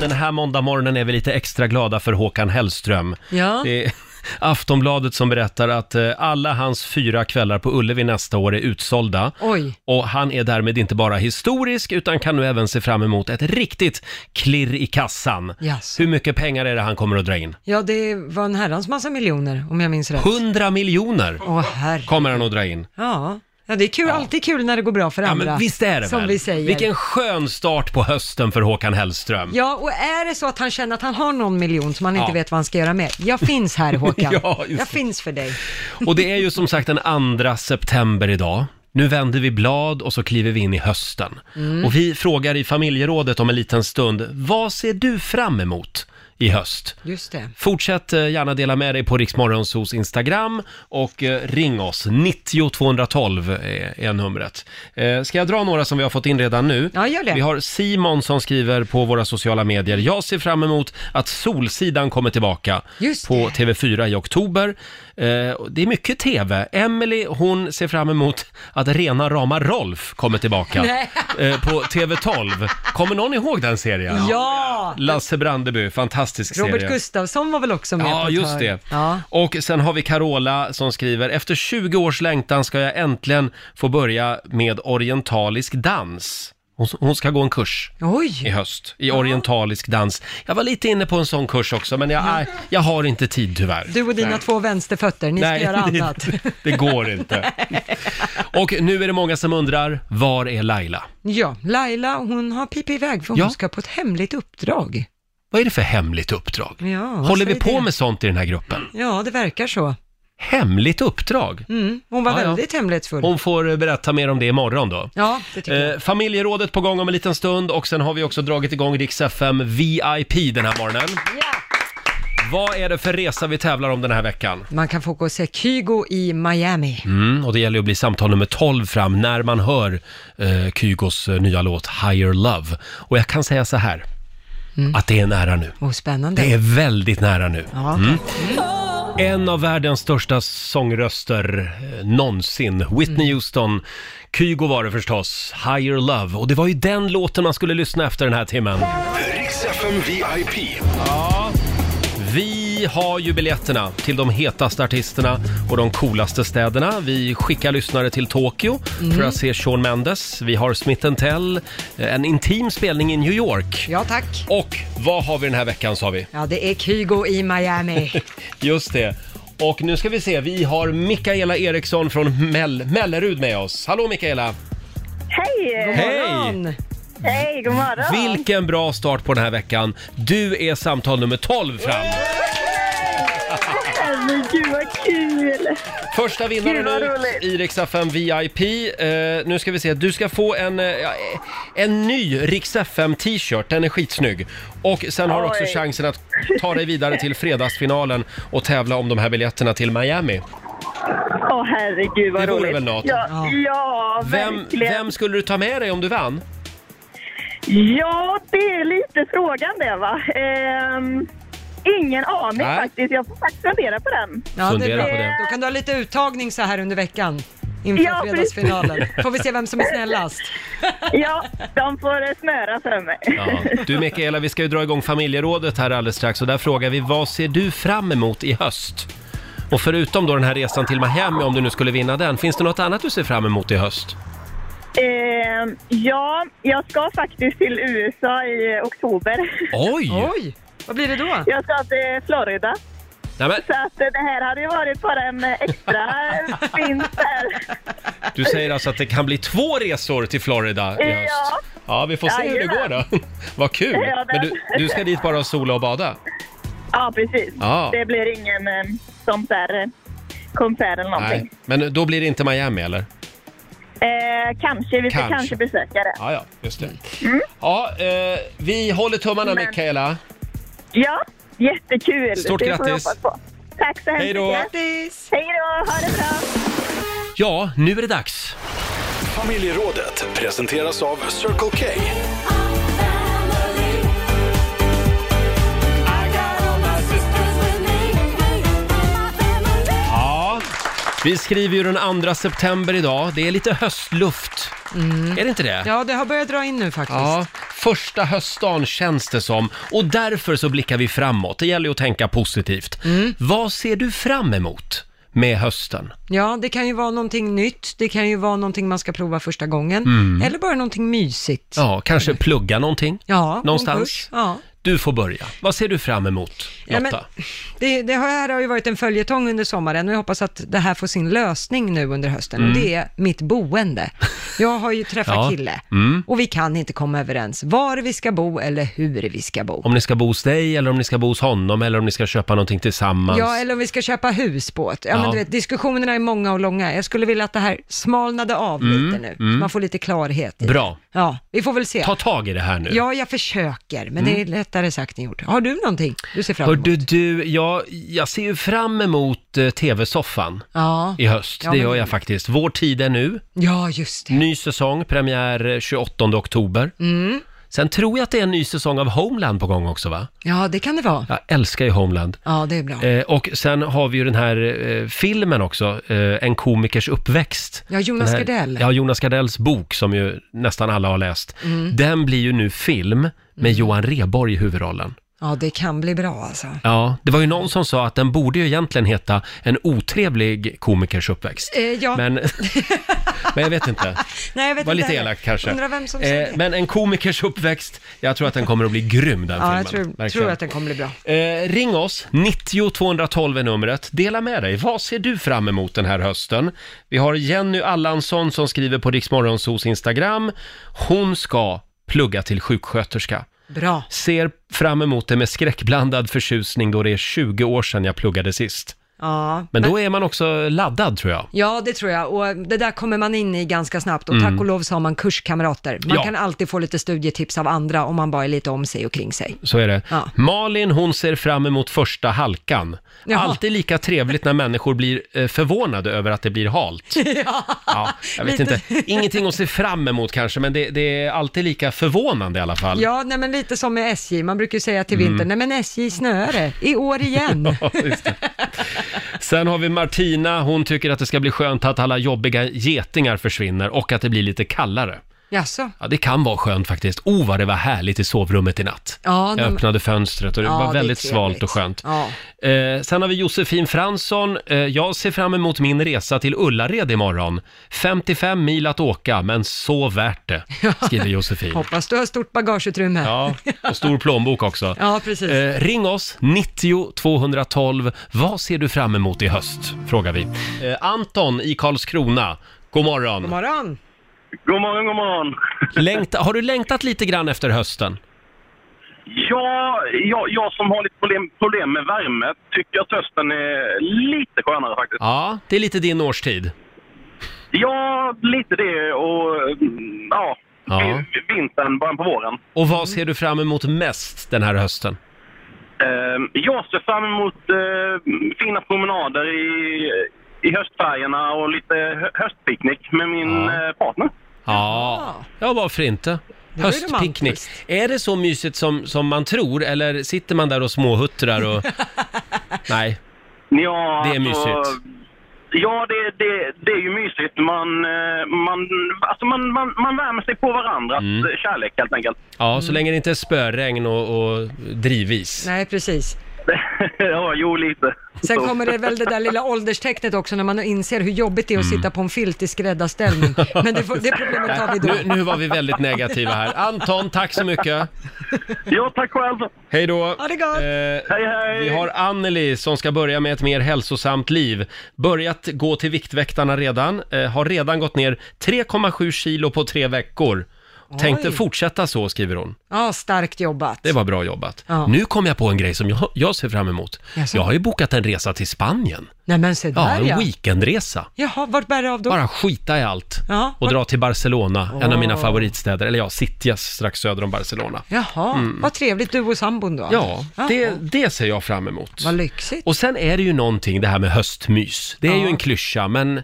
Speaker 1: Den här måndagmorgonen är vi lite extra glada för Håkan Hellström.
Speaker 3: Ja.
Speaker 1: Det är Aftonbladet som berättar att eh, alla hans fyra kvällar på Ullevi nästa år är utsålda.
Speaker 3: Oj.
Speaker 1: Och han är därmed inte bara historisk utan kan nu även se fram emot ett riktigt klirr i kassan.
Speaker 3: Jaså.
Speaker 1: Hur mycket pengar är det han kommer att dra in?
Speaker 3: Ja, det var en herrans massa miljoner om jag minns rätt.
Speaker 1: 100 miljoner
Speaker 3: Åh, herre.
Speaker 1: kommer han att dra in.
Speaker 3: Ja. ja, det är kul, alltid kul när det går bra för
Speaker 1: Ja,
Speaker 3: andra.
Speaker 1: men visst är det
Speaker 3: Som
Speaker 1: väl?
Speaker 3: vi säger.
Speaker 1: Vilken skön start på hösten för Håkan Hellström.
Speaker 3: Ja, och är det så att han känner att han har någon miljon som han
Speaker 1: Ja.
Speaker 3: inte vet vad han ska göra med, jag finns här Håkan.
Speaker 1: Ja, just
Speaker 3: jag
Speaker 1: det.
Speaker 3: finns för dig.
Speaker 1: Och det är ju som sagt den 2 september idag. Nu vänder vi blad och så kliver vi in i hösten.
Speaker 12: Mm.
Speaker 1: Och vi frågar i familjerådet om en liten stund, vad ser du fram emot i höst?
Speaker 3: Just det.
Speaker 1: Fortsätt eh, gärna dela med dig på Riksmorgonsos Instagram och eh, ring oss. 90 212 är, är numret. Eh, Ska jag dra några som vi har fått in redan nu?
Speaker 3: Ja, gör det.
Speaker 1: Vi har Simon som skriver på våra sociala medier. Jag ser fram emot att Solsidan kommer tillbaka
Speaker 3: Just
Speaker 1: på TV4 i oktober. Eh, och Det är mycket TV. Emily, hon ser fram emot att Rena rama Rolf kommer tillbaka
Speaker 3: Nej.
Speaker 1: eh, på TV12. Kommer någon ihåg den serien?
Speaker 3: Ja!
Speaker 1: Lasse Brandeby, fantastisk
Speaker 3: Robert
Speaker 1: serie.
Speaker 3: Gustafsson var väl också med på
Speaker 1: Ja,
Speaker 3: ett
Speaker 1: just
Speaker 3: hörn.
Speaker 1: det.
Speaker 3: Ja.
Speaker 1: Och sen har vi Carola som skriver, efter 20 års längtan ska jag äntligen få börja med orientalisk dans. Hon, hon ska gå en kurs
Speaker 3: Oj.
Speaker 1: i höst, i orientalisk dans. Jag var lite inne på en sån kurs också, men jag, nej, jag har inte tid tyvärr.
Speaker 3: Du och dina
Speaker 1: Nej.
Speaker 3: två vänsterfötter, ni
Speaker 1: Nej,
Speaker 3: ska göra
Speaker 1: det-
Speaker 3: annat.
Speaker 1: Det går inte. Och nu är det många som undrar, var är Laila?
Speaker 3: Ja, Laila hon har pipit iväg för hon
Speaker 1: Ja.
Speaker 3: ska på ett hemligt uppdrag.
Speaker 1: Vad är det för hemligt uppdrag?
Speaker 3: Ja, vad
Speaker 1: Håller vi
Speaker 3: säger
Speaker 1: på
Speaker 3: det?
Speaker 1: med sånt i den här gruppen?
Speaker 3: Ja, det verkar så.
Speaker 1: Hemligt uppdrag?
Speaker 3: Mm. Hon var
Speaker 1: Ja, ja.
Speaker 3: väldigt hemlighetsfull.
Speaker 1: Hon får eh, berätta mer om det imorgon då.
Speaker 3: Ja, det tycker jag.
Speaker 1: Eh, familjerådet på gång om en liten stund och sen har vi också dragit igång Rix FM VIP den här morgonen. Vad är det för resa vi tävlar om den här veckan?
Speaker 3: Man kan få gå och se Kygo i Miami.
Speaker 1: Mm, och det gäller ju att bli samtal nummer 12 fram när man hör eh, Kygos eh, nya låt Higher Love. Och jag kan säga så här,
Speaker 3: Mm.
Speaker 1: att det är nära nu.
Speaker 3: Oh, spännande.
Speaker 1: Det är väldigt nära nu.
Speaker 3: Ja.
Speaker 1: Mm. En av världens största sångröster eh, någonsin, Whitney
Speaker 3: Mm.
Speaker 1: Houston. Kygo var det förstås, Higher Love. Och det var ju den låten man skulle lyssna efter den här timmen.
Speaker 5: Riks FM VIP.
Speaker 1: Vi Vi har ju biljetterna till de hetaste artisterna och de coolaste städerna. Vi skickar lyssnare till Tokyo
Speaker 3: Mm.
Speaker 1: för att se Shawn Mendes. Vi har Smith Tell, eh, en intim spelning i New York.
Speaker 3: Ja, tack.
Speaker 1: Och vad har vi den här veckan, sa vi?
Speaker 3: Ja, det är Kygo i Miami.
Speaker 1: Just det. Och nu ska vi se, vi har Mikaela Eriksson från Mell- Mellerud med oss. Hallå Mikaela!
Speaker 13: Hej!
Speaker 1: Hej!
Speaker 13: Hej, god morgon!
Speaker 1: Vilken bra start på den här veckan. Du är samtal nummer 12 fram.
Speaker 13: Men gud vad kul!
Speaker 1: Första vinnaren
Speaker 13: Gud, vad
Speaker 1: nu
Speaker 13: roligt.
Speaker 1: i Rix FM VIP. Eh, nu ska vi se, du ska få en, eh, ja, en ny Rix FM t-shirt, den är skitsnygg. Och sen har du också
Speaker 13: Oj.
Speaker 1: chansen att ta dig vidare till fredagsfinalen och tävla om de här biljetterna till Miami.
Speaker 13: Åh herregud vad
Speaker 1: Det vore
Speaker 13: roligt.
Speaker 1: väl något.
Speaker 13: Ja, ja
Speaker 1: Vem,
Speaker 13: verkligen.
Speaker 1: vem skulle du ta med dig om du vann?
Speaker 13: Ja, det är lite frågan det va. Ehm, ingen aning
Speaker 1: Nej.
Speaker 13: faktiskt. Jag får faktiskt fundera på den.
Speaker 3: Ja, det är
Speaker 1: Fundera
Speaker 3: bra.
Speaker 1: på det.
Speaker 3: Då kan du ha lite uttagning så här under veckan inför
Speaker 13: Ja, precis.
Speaker 3: fredagsfinalen. Får vi se vem som är snällast.
Speaker 13: Ja, de får eh, snöra för mig.
Speaker 1: Ja. Du Mikaela, vi ska ju dra igång familjerådet här alldeles strax och där frågar vi vad ser du fram emot i höst? Och förutom då den här resan till Miami, om du nu skulle vinna den, finns det något annat du ser fram emot i höst?
Speaker 13: Ehm, ja, jag ska faktiskt till USA i eh, oktober.
Speaker 1: Oj!
Speaker 3: Oj! Vad blir det då?
Speaker 13: Jag ska till Florida.
Speaker 1: Nej, men,
Speaker 13: Så att eh, det här hade ju varit bara en eh, extra vinst där.
Speaker 1: du säger alltså att det kan bli två resor till Florida i höst?
Speaker 13: Ja.
Speaker 1: Ja, vi får se hur det går
Speaker 13: Jajamän.
Speaker 1: då. Vad kul!
Speaker 13: Ja, det-
Speaker 1: Men du, du ska dit bara och sola och bada?
Speaker 13: Ja, precis.
Speaker 1: Ja.
Speaker 13: Det blir ingen eh, sånt där eh, konsert eller någonting.
Speaker 1: Nej, men då blir det inte Miami eller?
Speaker 13: Eh, kanske, vi ska
Speaker 1: Kanske.
Speaker 13: kanske, besöka det.
Speaker 1: Ja, ja, just det. Ja, eh, vi håller tummarna
Speaker 13: Mm. Men-
Speaker 1: Mikaela.
Speaker 13: Ja, jättekul.
Speaker 1: Stort
Speaker 13: det får vi
Speaker 1: grattis.
Speaker 13: hoppas på. Tack så hemskt
Speaker 1: Hej då.
Speaker 13: mycket. Hej då, ha det bra.
Speaker 1: Ja, nu är det dags.
Speaker 5: Familjerådet presenteras av Circle K.
Speaker 1: Ja, vi skriver ju den 2 september idag. Det är lite höstluft. Är det inte det?
Speaker 3: Mm. Ja, det har börjat dra in nu faktiskt.
Speaker 1: Ja, första höstdagen känns det som. Och därför så blickar vi framåt. Det gäller ju att tänka positivt.
Speaker 3: Mm.
Speaker 1: Vad ser du fram emot med hösten?
Speaker 3: Ja, det kan ju vara någonting nytt, det kan ju vara någonting man ska prova första gången,
Speaker 1: Mm.
Speaker 3: eller bara någonting mysigt.
Speaker 1: Ja, kanske plugga någonting?
Speaker 3: Ja, någon
Speaker 1: Någonstans?
Speaker 3: kurs. Ja.
Speaker 1: Du får börja. Vad ser du fram emot,
Speaker 3: Ja,
Speaker 1: Lotta?
Speaker 3: men, det, det här har ju varit en följetong under sommaren och jag hoppas att det här får sin lösning nu under hösten.
Speaker 1: Mm.
Speaker 3: Och det är mitt boende. Jag har ju träffat kille
Speaker 1: Mm.
Speaker 3: och vi kan inte komma överens var vi ska bo eller hur vi ska bo.
Speaker 1: Om ni ska bo hos dig, eller om ni ska bo hos honom, eller om ni ska köpa någonting tillsammans.
Speaker 3: Ja, eller om vi ska köpa hus på ett. Ja,
Speaker 1: Ja.
Speaker 3: Men du vet, diskussionerna är många och långa. Jag skulle vilja att det här smalnade av
Speaker 1: Mm,
Speaker 3: lite nu,
Speaker 1: mm.
Speaker 3: så man får lite klarhet. i det.
Speaker 1: Bra.
Speaker 3: Ja, vi får väl se.
Speaker 1: Ta tag i det här nu.
Speaker 3: Ja, jag försöker, men
Speaker 1: Mm.
Speaker 3: det är lättare sagt än gjort. Har du någonting du ser fram emot?
Speaker 1: Hörde du, jag, jag ser ju fram emot eh, tv-soffan
Speaker 3: Ja.
Speaker 1: i höst.
Speaker 3: Ja,
Speaker 1: det
Speaker 3: men-
Speaker 1: gör jag faktiskt. Vår tid är nu.
Speaker 3: Ja, just det.
Speaker 1: Ny säsong, premiär eh, 28 oktober.
Speaker 3: Mm.
Speaker 1: Sen tror jag att det är en ny säsong av Homeland på gång också va?
Speaker 3: Ja, det kan det vara.
Speaker 1: Jag älskar ju Homeland.
Speaker 3: Ja, det är bra.
Speaker 1: Eh, och sen har vi ju den här eh, filmen också, eh, En komikers uppväxt.
Speaker 3: Ja, Jonas
Speaker 1: Den här,
Speaker 3: Gardell.
Speaker 1: Ja, Jonas Gardells bok som ju nästan alla har läst.
Speaker 3: Mm.
Speaker 1: Den blir ju nu film med Johan Rheborg i huvudrollen.
Speaker 3: Ja, det kan bli bra alltså.
Speaker 1: Ja, det var ju någon som sa att den borde ju egentligen heta En otrevlig komikers uppväxt.
Speaker 3: Eh, ja.
Speaker 1: Men, men jag vet inte.
Speaker 3: Nej, jag vet
Speaker 1: var
Speaker 3: inte
Speaker 1: lite
Speaker 3: heller.
Speaker 1: elakt kanske.
Speaker 3: Undrar vem som
Speaker 1: Eh,
Speaker 3: säger det.
Speaker 1: men en komikers uppväxt, jag tror att den kommer att bli grym den
Speaker 3: Ja, jag
Speaker 1: filmen.
Speaker 3: tror,
Speaker 1: Verkligen.
Speaker 3: tror att den kommer bli bra.
Speaker 1: Eh, ring oss, 90 212 är numret. Dela med dig, vad ser du fram emot den här hösten? Vi har Jenny Allansson som skriver på Riksmorgonsos Instagram. Hon ska plugga till sjuksköterska.
Speaker 3: Bra.
Speaker 1: Ser fram emot det med skräckblandad förtjusning då det är 20 år sedan jag pluggade sist.
Speaker 3: Ja,
Speaker 1: Men då är man också laddad tror jag.
Speaker 3: ja, det tror jag. Och det där kommer man in i ganska snabbt. Och
Speaker 1: Mm.
Speaker 3: tack och lov så har man kurskamrater. Man
Speaker 1: Ja.
Speaker 3: kan alltid få lite studietips av andra om man bara är lite om sig och kring sig.
Speaker 1: Så är det.
Speaker 3: Ja.
Speaker 1: Malin, hon ser fram emot första halkan.
Speaker 3: Jaha.
Speaker 1: Alltid lika trevligt när människor blir eh, förvånade över att det blir halt. Ja, jag vet
Speaker 3: Lite.
Speaker 1: inte. Ingenting att se fram emot kanske, men det, det är alltid lika förvånande i alla fall.
Speaker 3: Ja, nej, men lite som med SJ. Man brukar ju säga till
Speaker 1: Mm.
Speaker 3: vintern, nej men SJ snöar det. I år igen.
Speaker 1: Ja, just det. Sen har vi Martina, hon tycker att det ska bli skönt att alla jobbiga getingar försvinner och att det blir lite kallare.
Speaker 3: Jaså?
Speaker 1: Ja, det kan vara skönt faktiskt. Oh, vad det var härligt i sovrummet i natt.
Speaker 3: Ja,
Speaker 1: Jag
Speaker 3: de-
Speaker 1: öppnade fönstret och det
Speaker 3: Ja,
Speaker 1: var
Speaker 3: det är
Speaker 1: väldigt svalt
Speaker 3: trevligt.
Speaker 1: och skönt.
Speaker 3: Ja.
Speaker 1: Eh, sen har vi Josefin Fransson. Eh, jag ser fram emot min resa till Ullared imorgon. 55 mil att åka, men så värt det, skriver Josefin.
Speaker 3: Hoppas du har stort bagageutrymme.
Speaker 1: Ja, och stor plånbok också.
Speaker 3: Ja, precis.
Speaker 1: Eh, ring oss, 90 212. Vad ser du fram emot i höst? Frågar vi. Eh, Anton i Karlskrona, god morgon.
Speaker 3: God morgon.
Speaker 14: God morgon, god morgon.
Speaker 1: Längta, har du längtat lite grann efter hösten?
Speaker 14: Ja, jag, jag som har lite problem, problem med värme tycker att hösten är lite skönare faktiskt.
Speaker 1: Ja, det är lite din årstid.
Speaker 14: Ja, lite det och mm, ja,
Speaker 1: Ja.
Speaker 14: vi- vintern, början på våren.
Speaker 1: Och vad ser du fram emot mest den här hösten?
Speaker 14: Eh, Jag ser fram emot eh, fina promenader i, i höstfärgerna och lite hö- höstpicknick med min eh, partner.
Speaker 1: Ja, ja varför inte?
Speaker 14: Det var ju
Speaker 1: Höstpicknick. Är det så mysigt som, som man tror eller sitter man där och småhuttrar och... Nej.
Speaker 14: Ja,
Speaker 1: Det är
Speaker 14: alltså,
Speaker 1: mysigt.
Speaker 14: Ja, det, det, det är ju mysigt. Man, eh, man, alltså man, man, man värmer sig på varandras
Speaker 1: Mm.
Speaker 14: kärlek helt enkelt.
Speaker 1: Ja,
Speaker 3: Mm.
Speaker 1: så länge det inte är spöregn och, och drivis.
Speaker 3: Nej, precis.
Speaker 14: ja, jo lite.
Speaker 3: Sen kommer det väl det där lilla ålderstecknet också när man inser hur jobbigt det är att sitta på en filt i skräddarställning. Men det, får, det problemet tar vi då.
Speaker 1: Nu, nu var vi väldigt negativa här. Anton, tack så mycket.
Speaker 14: Ja, tack själv.
Speaker 1: Hej då. Eh,
Speaker 14: Ha det gott. hej, hej.
Speaker 1: Vi har Anneli som ska börja med ett mer hälsosamt liv. Börjat gå till Viktväktarna redan. Eh, har redan gått ner 3,7 kilo på tre veckor. Tänkte
Speaker 3: Oj.
Speaker 1: fortsätta så, skriver hon.
Speaker 3: Ja, starkt jobbat.
Speaker 1: Det var bra jobbat.
Speaker 3: Ja.
Speaker 1: Nu kom jag på en grej som jag, jag ser fram emot.
Speaker 3: Jaså?
Speaker 1: Jag har ju bokat en resa till Spanien.
Speaker 3: Nej men se
Speaker 1: Ja,
Speaker 3: där
Speaker 1: en
Speaker 3: ja.
Speaker 1: weekendresa.
Speaker 3: Jaha, vart bär det av då?
Speaker 1: Bara skita i allt
Speaker 3: Ja,
Speaker 1: och dra till Barcelona, en av mina
Speaker 3: Åh.
Speaker 1: favoritstäder. Eller ja, Sitias strax söder om Barcelona.
Speaker 3: Jaha,
Speaker 1: Mm.
Speaker 3: vad trevligt du och sambon då.
Speaker 1: Ja,
Speaker 3: Jaha.
Speaker 1: det, det ser jag fram emot.
Speaker 3: Ah. Vad lyxigt.
Speaker 1: Och sen är det ju någonting det här med höstmys. Det är ju en klyscha, men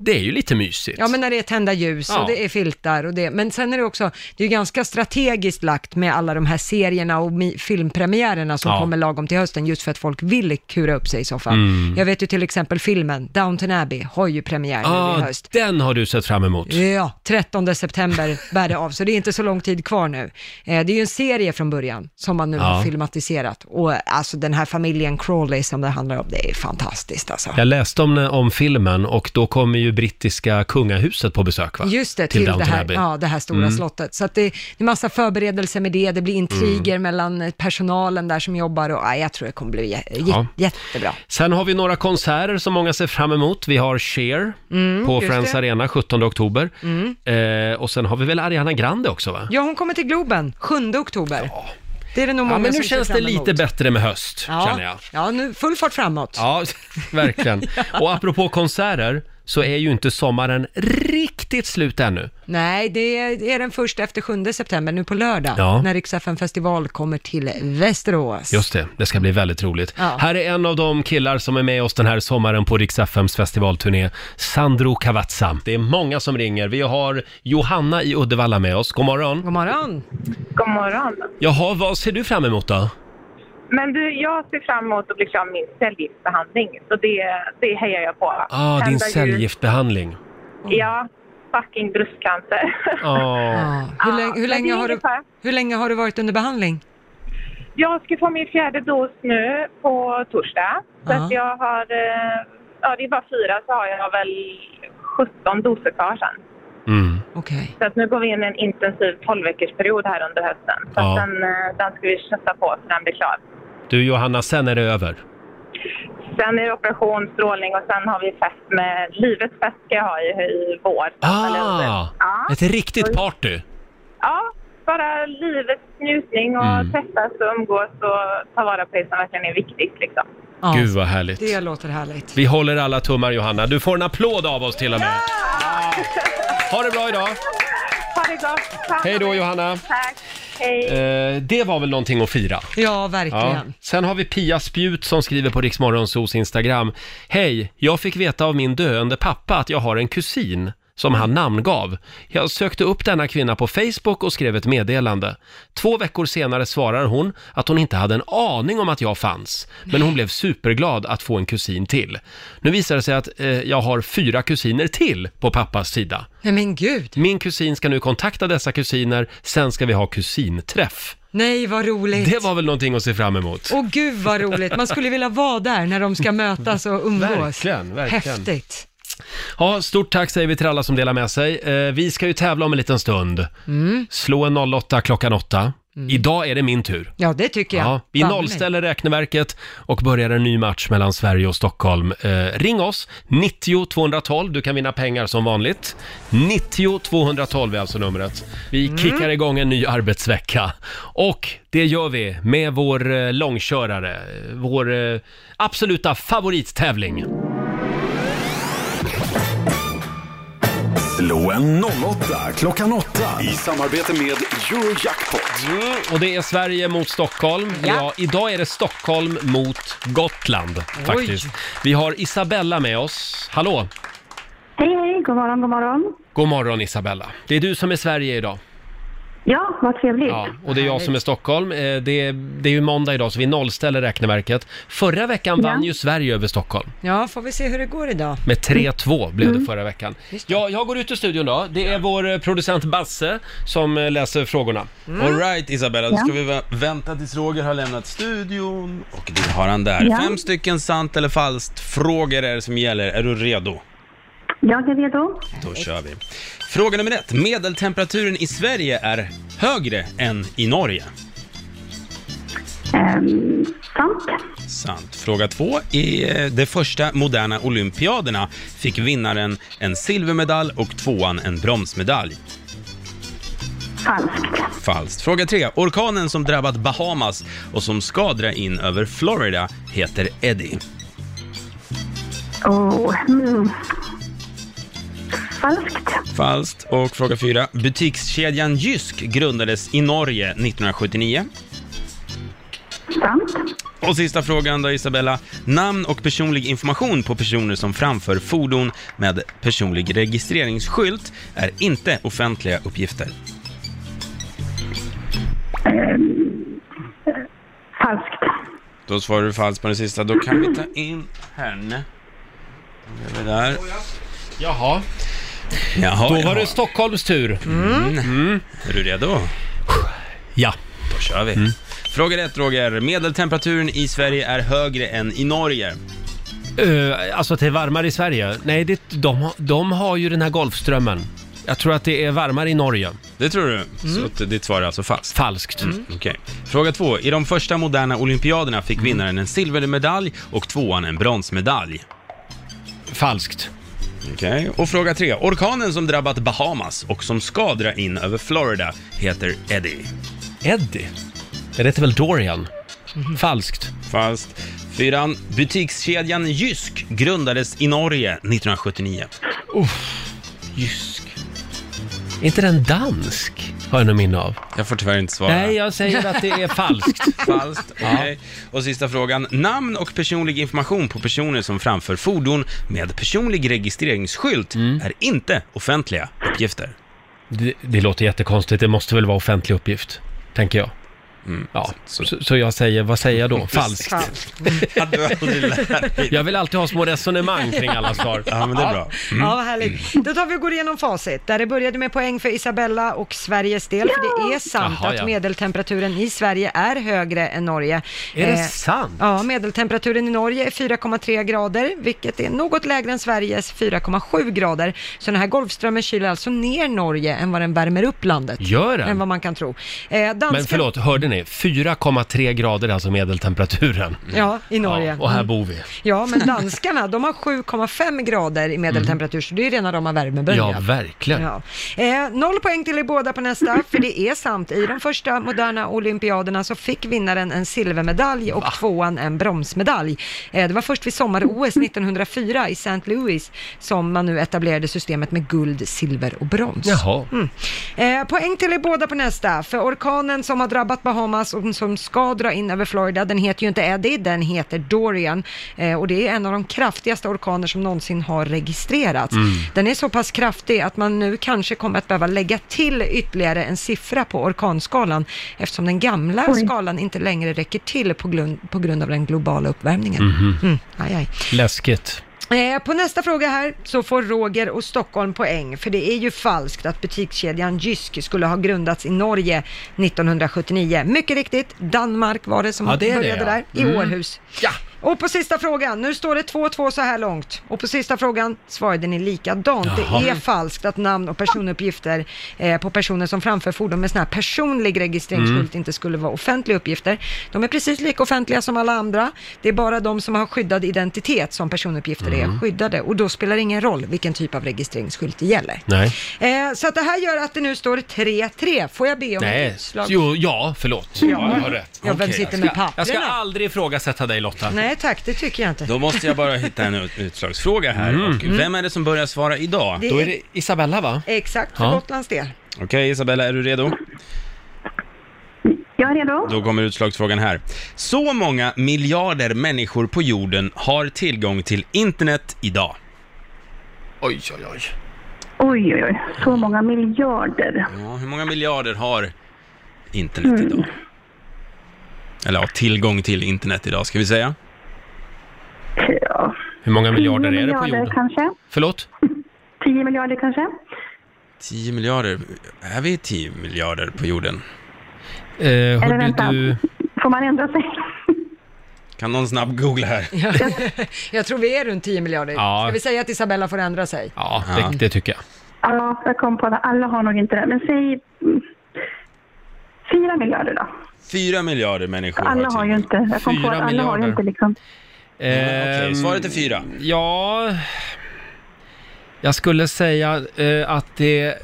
Speaker 1: det är ju lite mysigt.
Speaker 3: Ja, men när det är tända ljus
Speaker 1: Ja.
Speaker 3: och det är filtar och det. Men sen är det också, det är ju ganska strategiskt lagt med alla de här serierna och mi- filmpremiärerna som
Speaker 1: Ja.
Speaker 3: kommer lagom till hösten, just för att folk vill kura upp sig i soffan.
Speaker 1: Mm.
Speaker 3: Jag vet ju till exempel filmen Downton Abbey har ju premiär nu i
Speaker 1: ah,
Speaker 3: höst.
Speaker 1: den har du sett fram emot.
Speaker 3: Ja, 13 september bär det av, så det är inte så lång tid kvar nu. Eh, det är ju en serie från början som man nu
Speaker 1: Ja.
Speaker 3: har filmatiserat och eh, alltså den här familjen Crawley som det handlar om, det är fantastiskt alltså.
Speaker 1: Jag läste om, om filmen och då kommer ju brittiska kungahuset på besök va?
Speaker 3: Just det, till, det,
Speaker 1: Downton
Speaker 3: här,
Speaker 1: Abbey.
Speaker 3: ja, det här stora
Speaker 1: Mm.
Speaker 3: slottet. Så att det, det är massa förberedelser med det, det blir intriger
Speaker 1: Mm.
Speaker 3: mellan personalen där som jobbar och ja, jag tror det kommer bli jä- jä-
Speaker 1: Ja.
Speaker 3: jättebra.
Speaker 1: Sen har vi några konserter som många ser fram emot. Vi har Cher
Speaker 3: Mm,
Speaker 1: på
Speaker 3: just
Speaker 1: Friends
Speaker 3: det.
Speaker 1: Arena 17 oktober.
Speaker 3: Mm.
Speaker 1: Eh, och sen har vi väl Ariana Grande också va?
Speaker 3: Ja, hon kommer till Globen 7 oktober. Det är det nog
Speaker 1: Ja,
Speaker 3: många
Speaker 1: men nu
Speaker 3: som ser
Speaker 1: känns det
Speaker 3: fram emot.
Speaker 1: lite bättre med höst, känner jag.
Speaker 3: Ja, nu full fart framåt.
Speaker 1: Ja, verkligen. Och apropå konserter så är ju inte sommaren riktigt slut ännu.
Speaker 3: Nej, det är, det är den först efter 7 september, nu på lördag,
Speaker 1: Ja.
Speaker 3: när Rix FM festival kommer till Västerås.
Speaker 1: Just det, det ska bli väldigt roligt.
Speaker 3: Ja.
Speaker 1: Här är en av de killar som är med oss den här sommaren på Rix FMs festivalturné, Sandro Cavazza. Det är många som ringer. Vi har Johanna i Uddevalla med oss. God morgon.
Speaker 3: God morgon.
Speaker 15: God morgon.
Speaker 1: Jaha, vad ser du fram emot då?
Speaker 15: Men du, jag ser fram emot att bli klar med min cellgiftsbehandling. Så det, det hejar jag på.
Speaker 1: Ah, din
Speaker 15: Tända ljus.
Speaker 1: cellgiftbehandling.
Speaker 15: Ja, fucking bröstcancer.
Speaker 1: Ah.
Speaker 3: Hur, länge, hur,
Speaker 15: men
Speaker 3: länge
Speaker 15: det är
Speaker 3: har du,
Speaker 15: ungefär.
Speaker 3: hur länge har du varit under behandling?
Speaker 15: Jag ska få min fjärde dos nu på torsdag. Så
Speaker 3: Ja.
Speaker 15: att jag har, eh, ja det är bara fyra så har jag väl 17 doser kvar sen.
Speaker 1: Mm.
Speaker 15: Så att nu går vi in i en intensiv 12 veckors period här under hösten. Så
Speaker 1: Ja.
Speaker 15: att den, eh, den ska vi kötta på så den blir klar.
Speaker 1: Du Johanna, sen är det över.
Speaker 15: Sen är det operation, strålning och sen har vi fest med, livets fest ska jag ha i, i vår.
Speaker 1: Ah,
Speaker 15: Ja.
Speaker 1: ett riktigt party.
Speaker 15: Ja, bara livets njutning och
Speaker 1: Mm.
Speaker 15: träffas och umgås och ta vara på det som verkligen är viktigt liksom.
Speaker 1: Gud vad härligt.
Speaker 3: Det låter härligt.
Speaker 1: Vi håller alla tummar Johanna. Du får en applåd av oss till och med. Ha det bra idag.
Speaker 15: Ha det gott! Ta
Speaker 1: Hej
Speaker 15: hand
Speaker 1: då,
Speaker 15: om er.
Speaker 1: Johanna.
Speaker 15: Tack! Hej!
Speaker 1: Eh, det var väl någonting att fira?
Speaker 3: Ja, verkligen.
Speaker 1: Sen har vi Pia Spjut som skriver på Riksmorgonsos Instagram. Hej, jag fick veta av min döende pappa att jag har en kusin som han namngav. Jag sökte upp denna kvinna på Facebook och skrev ett meddelande. Två veckor senare svarar hon att hon inte hade en aning om att jag fanns, men hon blev superglad att få en kusin till. Nu visar det sig att eh, jag har fyra kusiner till på pappas sida.
Speaker 3: Men gud!
Speaker 1: Min kusin ska nu kontakta dessa kusiner, sen ska vi ha kusinträff.
Speaker 3: Nej, vad roligt.
Speaker 1: Det var väl någonting att se fram emot?
Speaker 3: Åh gud vad roligt. Man skulle vilja vara där när de ska mötas och umgås.
Speaker 1: Verkligen, verkligen.
Speaker 3: Häftigt.
Speaker 1: Ja, stort tack säger vi till alla som delar med sig. Eh, vi ska ju tävla om en liten stund.
Speaker 3: Mm.
Speaker 1: Slå en 08 klockan 8. Idag är det min tur.
Speaker 3: Ja, det tycker jag.
Speaker 1: Ja, vi
Speaker 3: Fan mig.
Speaker 1: nollställer räkneverket och börjar en ny match mellan Sverige och Stockholm. Eh, ring oss, 90 212. Du kan vinna pengar som vanligt. 90 212 är alltså numret. Vi kickar igång en ny arbetsvecka. Och det gör vi med vår eh, långkörare, eh, vår eh, absoluta favorittävling.
Speaker 5: Slå en 08 klockan 8 i samarbete med Eurojackpot.
Speaker 1: Och det är Sverige mot Stockholm. Ja.
Speaker 5: Ja.
Speaker 1: idag är det Stockholm mot Gotland faktiskt. Vi har Isabella med oss. Hallå!
Speaker 16: Hej, hej, god morgon, god morgon.
Speaker 1: God morgon Isabella. Det är du som är Sverige idag.
Speaker 16: Ja, vad trevligt.
Speaker 1: Ja, och det är jag som är Stockholm. Eh, Det är, det är ju måndag idag så vi nollställer räkneverket. Förra veckan vann ju Sverige över Stockholm.
Speaker 3: Ja, får vi se hur det går idag.
Speaker 1: Med 3-2 blev Mm. det förra veckan. Ja, jag går ut ur studion då. Det är vår eh, producent Basse som eh, läser frågorna.
Speaker 10: Mm. All right, Isabella, då ska
Speaker 1: Ja.
Speaker 10: vi vä- vänta tills Roger har lämnat studion. Och det har han där.
Speaker 16: Ja.
Speaker 10: Fem stycken sant eller falskt frågor är det som gäller. Är du redo?
Speaker 16: Jag är redo.
Speaker 10: Då kör vi. Fråga nummer ett. Medeltemperaturen i Sverige är högre än i Norge.
Speaker 16: Ehm, sant.
Speaker 10: Sant. Fråga två. I eh, de första moderna olympiaderna fick vinnaren en silvermedalj och tvåan en bronsmedalj.
Speaker 16: Falskt.
Speaker 10: Falskt. Fråga tre. Orkanen som drabbat Bahamas och som ska dra in över Florida heter Eddie.
Speaker 16: Oh, mm. Falskt.
Speaker 10: Falskt. Och fråga fyra. Butikskedjan Jysk grundades i Norge 1979.
Speaker 16: Sant.
Speaker 10: Och sista frågan då Isabella. Namn och personlig information på personer som framför fordon med personlig registreringsskylt är inte offentliga uppgifter.
Speaker 16: Ehm, eh, Falskt.
Speaker 10: Då svarar du falskt på den sista. Då kan vi ta in henne. Då är vi där.
Speaker 1: Jaha.
Speaker 10: Jaha,
Speaker 1: Då var
Speaker 10: jaha.
Speaker 1: det Stockholms tur.
Speaker 10: Mm. Är du redo?
Speaker 1: Ja.
Speaker 10: Då kör vi. Fråga ett Roger. Medeltemperaturen i Sverige är högre än i Norge.
Speaker 1: Eh, alltså att det är varmare i Sverige? Nej, det, de, har- de har ju den här Golfströmmen. Jag tror att det är varmare i Norge. Mm.
Speaker 10: Det tror du? Så att ditt svar är alltså falskt? Falskt. Okej. Fråga två. I de första moderna olympiaderna
Speaker 1: Mm.
Speaker 10: fick vinnaren en silvermedalj och tvåan en bronsmedalj.
Speaker 1: Falskt.
Speaker 10: Okej. Och fråga tre. Orkanen som drabbat Bahamas och som ska dra in över Florida heter Eddie.
Speaker 1: Eddie? Det heter väl Dorian? Falskt.
Speaker 10: Falskt. Fyran. Butikskedjan Jysk grundades i Norge 1979.
Speaker 1: Uff, Jysk. Är inte den dansk? Har jag något minne av.
Speaker 10: Jag får tyvärr inte svara.
Speaker 1: Nej, jag säger att det är falskt.
Speaker 10: Falskt. Okej. Och sista frågan. Namn och personlig information på personer som framför fordon med personlig registreringsskylt är inte offentliga uppgifter.
Speaker 1: Det, det låter jättekonstigt. Det måste väl vara offentlig uppgift, tänker jag.
Speaker 10: Mm.
Speaker 1: Ja, så, så jag säger, vad säger jag då? Falskt.
Speaker 10: Att du aldrig lär dig.
Speaker 1: Jag vill alltid ha små resonemang kring alla svar.
Speaker 10: Ja, men det är bra. Mm.
Speaker 3: Ja, vad härligt. Då tar vi och går igenom facit. Där det började med poäng för Isabella och Sveriges del, för det är sant
Speaker 1: Jaha,
Speaker 3: att
Speaker 1: ja.
Speaker 3: medeltemperaturen i Sverige är högre än Norge. Eh,
Speaker 1: Är det sant?
Speaker 3: Ja, medeltemperaturen i Norge är 4,3 grader, vilket är något lägre än Sveriges 4,7 grader. Så den här Golfströmmen kyler alltså ner Norge än vad den värmer upp landet.
Speaker 1: Gör den?
Speaker 3: Än vad man kan tro. Eh, danskarna-
Speaker 1: Men förlåt, hörde ni? 4,3 grader är alltså medeltemperaturen.
Speaker 3: Mm. Ja, i Norge.
Speaker 1: Och här
Speaker 3: Mm.
Speaker 1: bor vi.
Speaker 3: Ja, men danskarna, de har 7,5 grader i medeltemperatur, så det är rena rama värmeböljan.
Speaker 1: Ja, verkligen.
Speaker 3: Ja. Eh, noll poäng till er båda på nästa, för det är sant. I de första moderna olympiaderna så fick vinnaren en silvermedalj och tvåan en bronsmedalj. Eh, det var först vid sommar-OS 1904 i St. Louis som man nu etablerade systemet med guld, silver och brons.
Speaker 1: Jaha.
Speaker 3: Mm. Eh, poäng till er båda på nästa, för orkanen som har drabbat Bahamas Irma som, som ska dra in över Florida, den heter ju inte Eddie, den heter Dorian. Eh, och det är en av de kraftigaste orkaner som någonsin har registrerats.
Speaker 17: Mm.
Speaker 3: Den är så pass kraftig att man nu kanske kommer att behöva lägga till ytterligare en siffra på orkanskalan, eftersom den gamla
Speaker 17: Oj.
Speaker 3: skalan inte längre räcker till på grund, på grund av den globala uppvärmningen.
Speaker 1: Mhm.
Speaker 3: Mm, aj, aj.
Speaker 1: Läskigt.
Speaker 3: Eh, på nästa fråga här så får Roger och Stockholm poäng, för det är ju falskt att butikskedjan Jysk skulle ha grundats i Norge 1979. Mycket riktigt, Danmark var det som
Speaker 17: Ja, det är det,
Speaker 3: började
Speaker 17: ja.
Speaker 3: där, i
Speaker 17: Mm.
Speaker 3: Århus. Och på sista frågan, nu står det 2-2 så här långt. Och på sista frågan svarade ni likadant.
Speaker 17: Jaha.
Speaker 3: Det är falskt att namn och personuppgifter eh, på personer som framför fordon med sån här personlig registreringsskylt inte skulle vara offentliga uppgifter. De är precis lika offentliga som alla andra. Det är bara de som har skyddad identitet som personuppgifter är
Speaker 17: Mm.
Speaker 3: skyddade. Och då spelar det ingen roll vilken typ av registreringsskylt det gäller.
Speaker 1: Nej.
Speaker 3: Eh, så att det här gör att det nu står 3-3. Får jag be om ett utslag?
Speaker 1: Jo, ja, förlåt.
Speaker 3: Ja.
Speaker 1: Jag har rätt.
Speaker 3: Ja, vem
Speaker 10: Okej,
Speaker 3: sitter
Speaker 10: jag
Speaker 3: med
Speaker 10: ska- Jag ska
Speaker 3: papperna?
Speaker 10: aldrig ifrågasätta dig Lotta.
Speaker 3: Nej tack, det tycker jag inte.
Speaker 10: Då måste jag bara hitta en ut- utslagsfråga här. Och
Speaker 3: Mm.
Speaker 10: vem är det som börjar svara idag?
Speaker 3: Det Då är det
Speaker 1: Isabella va?
Speaker 3: Exakt, för
Speaker 10: Ja.
Speaker 3: Gotlands del.
Speaker 10: Okej Isabella, är du redo?
Speaker 16: Jag är redo.
Speaker 10: Då kommer utslagsfrågan här. Så många miljarder människor på jorden har tillgång till internet idag. Oj, oj, oj.
Speaker 16: Oj, oj, oj. Så många miljarder.
Speaker 10: Ja, hur många miljarder har internet?
Speaker 16: Mm.
Speaker 10: Eller har tillgång till internet idag, ska vi säga?
Speaker 1: Hur många miljarder
Speaker 16: 10
Speaker 1: är det på
Speaker 16: miljarder
Speaker 1: jorden?
Speaker 16: kanske?
Speaker 1: Förlåt?
Speaker 16: 10 miljarder kanske?
Speaker 10: 10 miljarder. Är vi 10 miljarder på jorden?
Speaker 1: Eh,
Speaker 16: Eller vänta, får man ändra sig?
Speaker 10: Kan någon snabb googla här?
Speaker 3: jag tror vi är runt 10 miljarder.
Speaker 10: Ja.
Speaker 3: Ska vi säga att Isabella får ändra sig?
Speaker 1: Ja, det, det tycker jag.
Speaker 16: Ja, jag kom på det. Alla har nog inte det. Men säg mm, 4 miljarder då.
Speaker 10: 4 miljarder människor
Speaker 16: Alla har ju
Speaker 1: typ
Speaker 10: tillgång.
Speaker 16: inte. Jag kom på
Speaker 10: Fyra
Speaker 16: att alla har ju
Speaker 10: miljarder.
Speaker 16: inte liksom.
Speaker 10: Okej, svaret är fyra.
Speaker 1: Ehm, Ja, jag skulle säga eh, att det är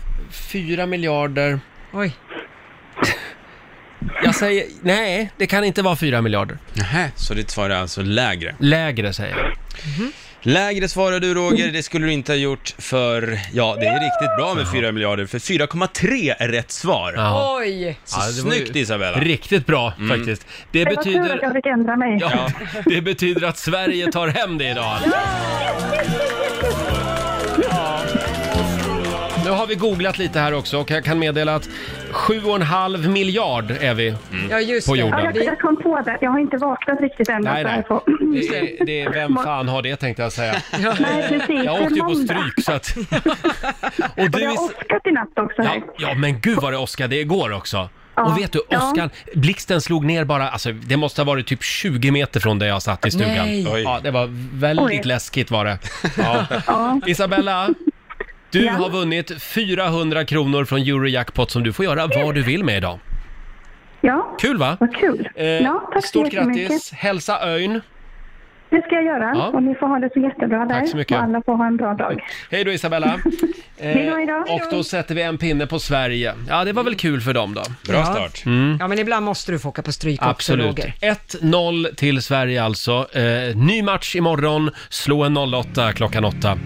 Speaker 1: fyra miljarder.
Speaker 3: Oj.
Speaker 1: Jag säger, nej, det kan inte vara fyra miljarder.
Speaker 10: Nähä, så ditt svar är alltså lägre? Mhm.
Speaker 1: Lägre säger jag.
Speaker 10: Lägre svarar du Roger, det skulle du inte ha gjort för, ja det är riktigt bra med 4 miljarder, för 4,3 är rätt svar.
Speaker 3: Oj!
Speaker 10: Så
Speaker 1: Ja, det var ju
Speaker 10: snyggt Isabella!
Speaker 1: Riktigt bra
Speaker 10: Mm.
Speaker 1: faktiskt. Det
Speaker 16: var tur att
Speaker 1: betyder,
Speaker 16: jag fick ändra mig.
Speaker 1: ja, det betyder att Sverige tar hem det idag. Nu har vi googlat lite här också och jag kan meddela att 7,5 miljard är vi
Speaker 16: Ja, just
Speaker 1: på
Speaker 16: det.
Speaker 1: jorden.
Speaker 16: Ja, jag, jag kom på det. Jag har inte vaknat riktigt än.
Speaker 1: Nej,
Speaker 16: så
Speaker 1: nej.
Speaker 16: jag får-
Speaker 1: Det är, det är, vem fan har det tänkte jag säga.
Speaker 16: Nej, precis.
Speaker 1: Jag åkte ju på
Speaker 16: Det är måndag.
Speaker 1: stryk så att... Och
Speaker 16: Och
Speaker 1: du
Speaker 16: jag
Speaker 1: är...
Speaker 16: har åskat i natt också.
Speaker 1: Ja, ja, men gud vad det åskade igår också.
Speaker 16: Ja.
Speaker 1: Och vet du,
Speaker 16: Ja.
Speaker 1: åskan, blixten slog ner bara, alltså det måste ha varit typ 20 meter från där jag satt i stugan.
Speaker 16: Nej. Oj.
Speaker 1: Ja, det var väldigt
Speaker 16: Oj.
Speaker 1: läskigt var det. Ja. Isabella, du har vunnit 400 kronor från Eurojackpot som du får göra vad du vill med idag.
Speaker 16: Ja,
Speaker 1: Kul va?
Speaker 16: vad kul.
Speaker 1: Eh,
Speaker 16: ja, tack så
Speaker 1: stort
Speaker 16: jättemycket.
Speaker 1: grattis, hälsa Öyn.
Speaker 16: Det ska jag göra.
Speaker 1: Ja.
Speaker 16: Och ni får ha det så jättebra där.
Speaker 1: Tack så mycket.
Speaker 16: Och alla får ha en bra dag.
Speaker 1: Hej då Isabella. Eh,
Speaker 16: Hej då, hej då.
Speaker 1: och då sätter vi en pinne på Sverige. Ja, det var väl kul för dem då.
Speaker 3: Ja.
Speaker 1: Mm.
Speaker 3: Ja, men ibland måste du få åka på stryk också,
Speaker 1: Absolut.
Speaker 3: Roger.
Speaker 1: 1-0 till Sverige alltså. Eh, ny match imorgon, slå en 08 klockan 8.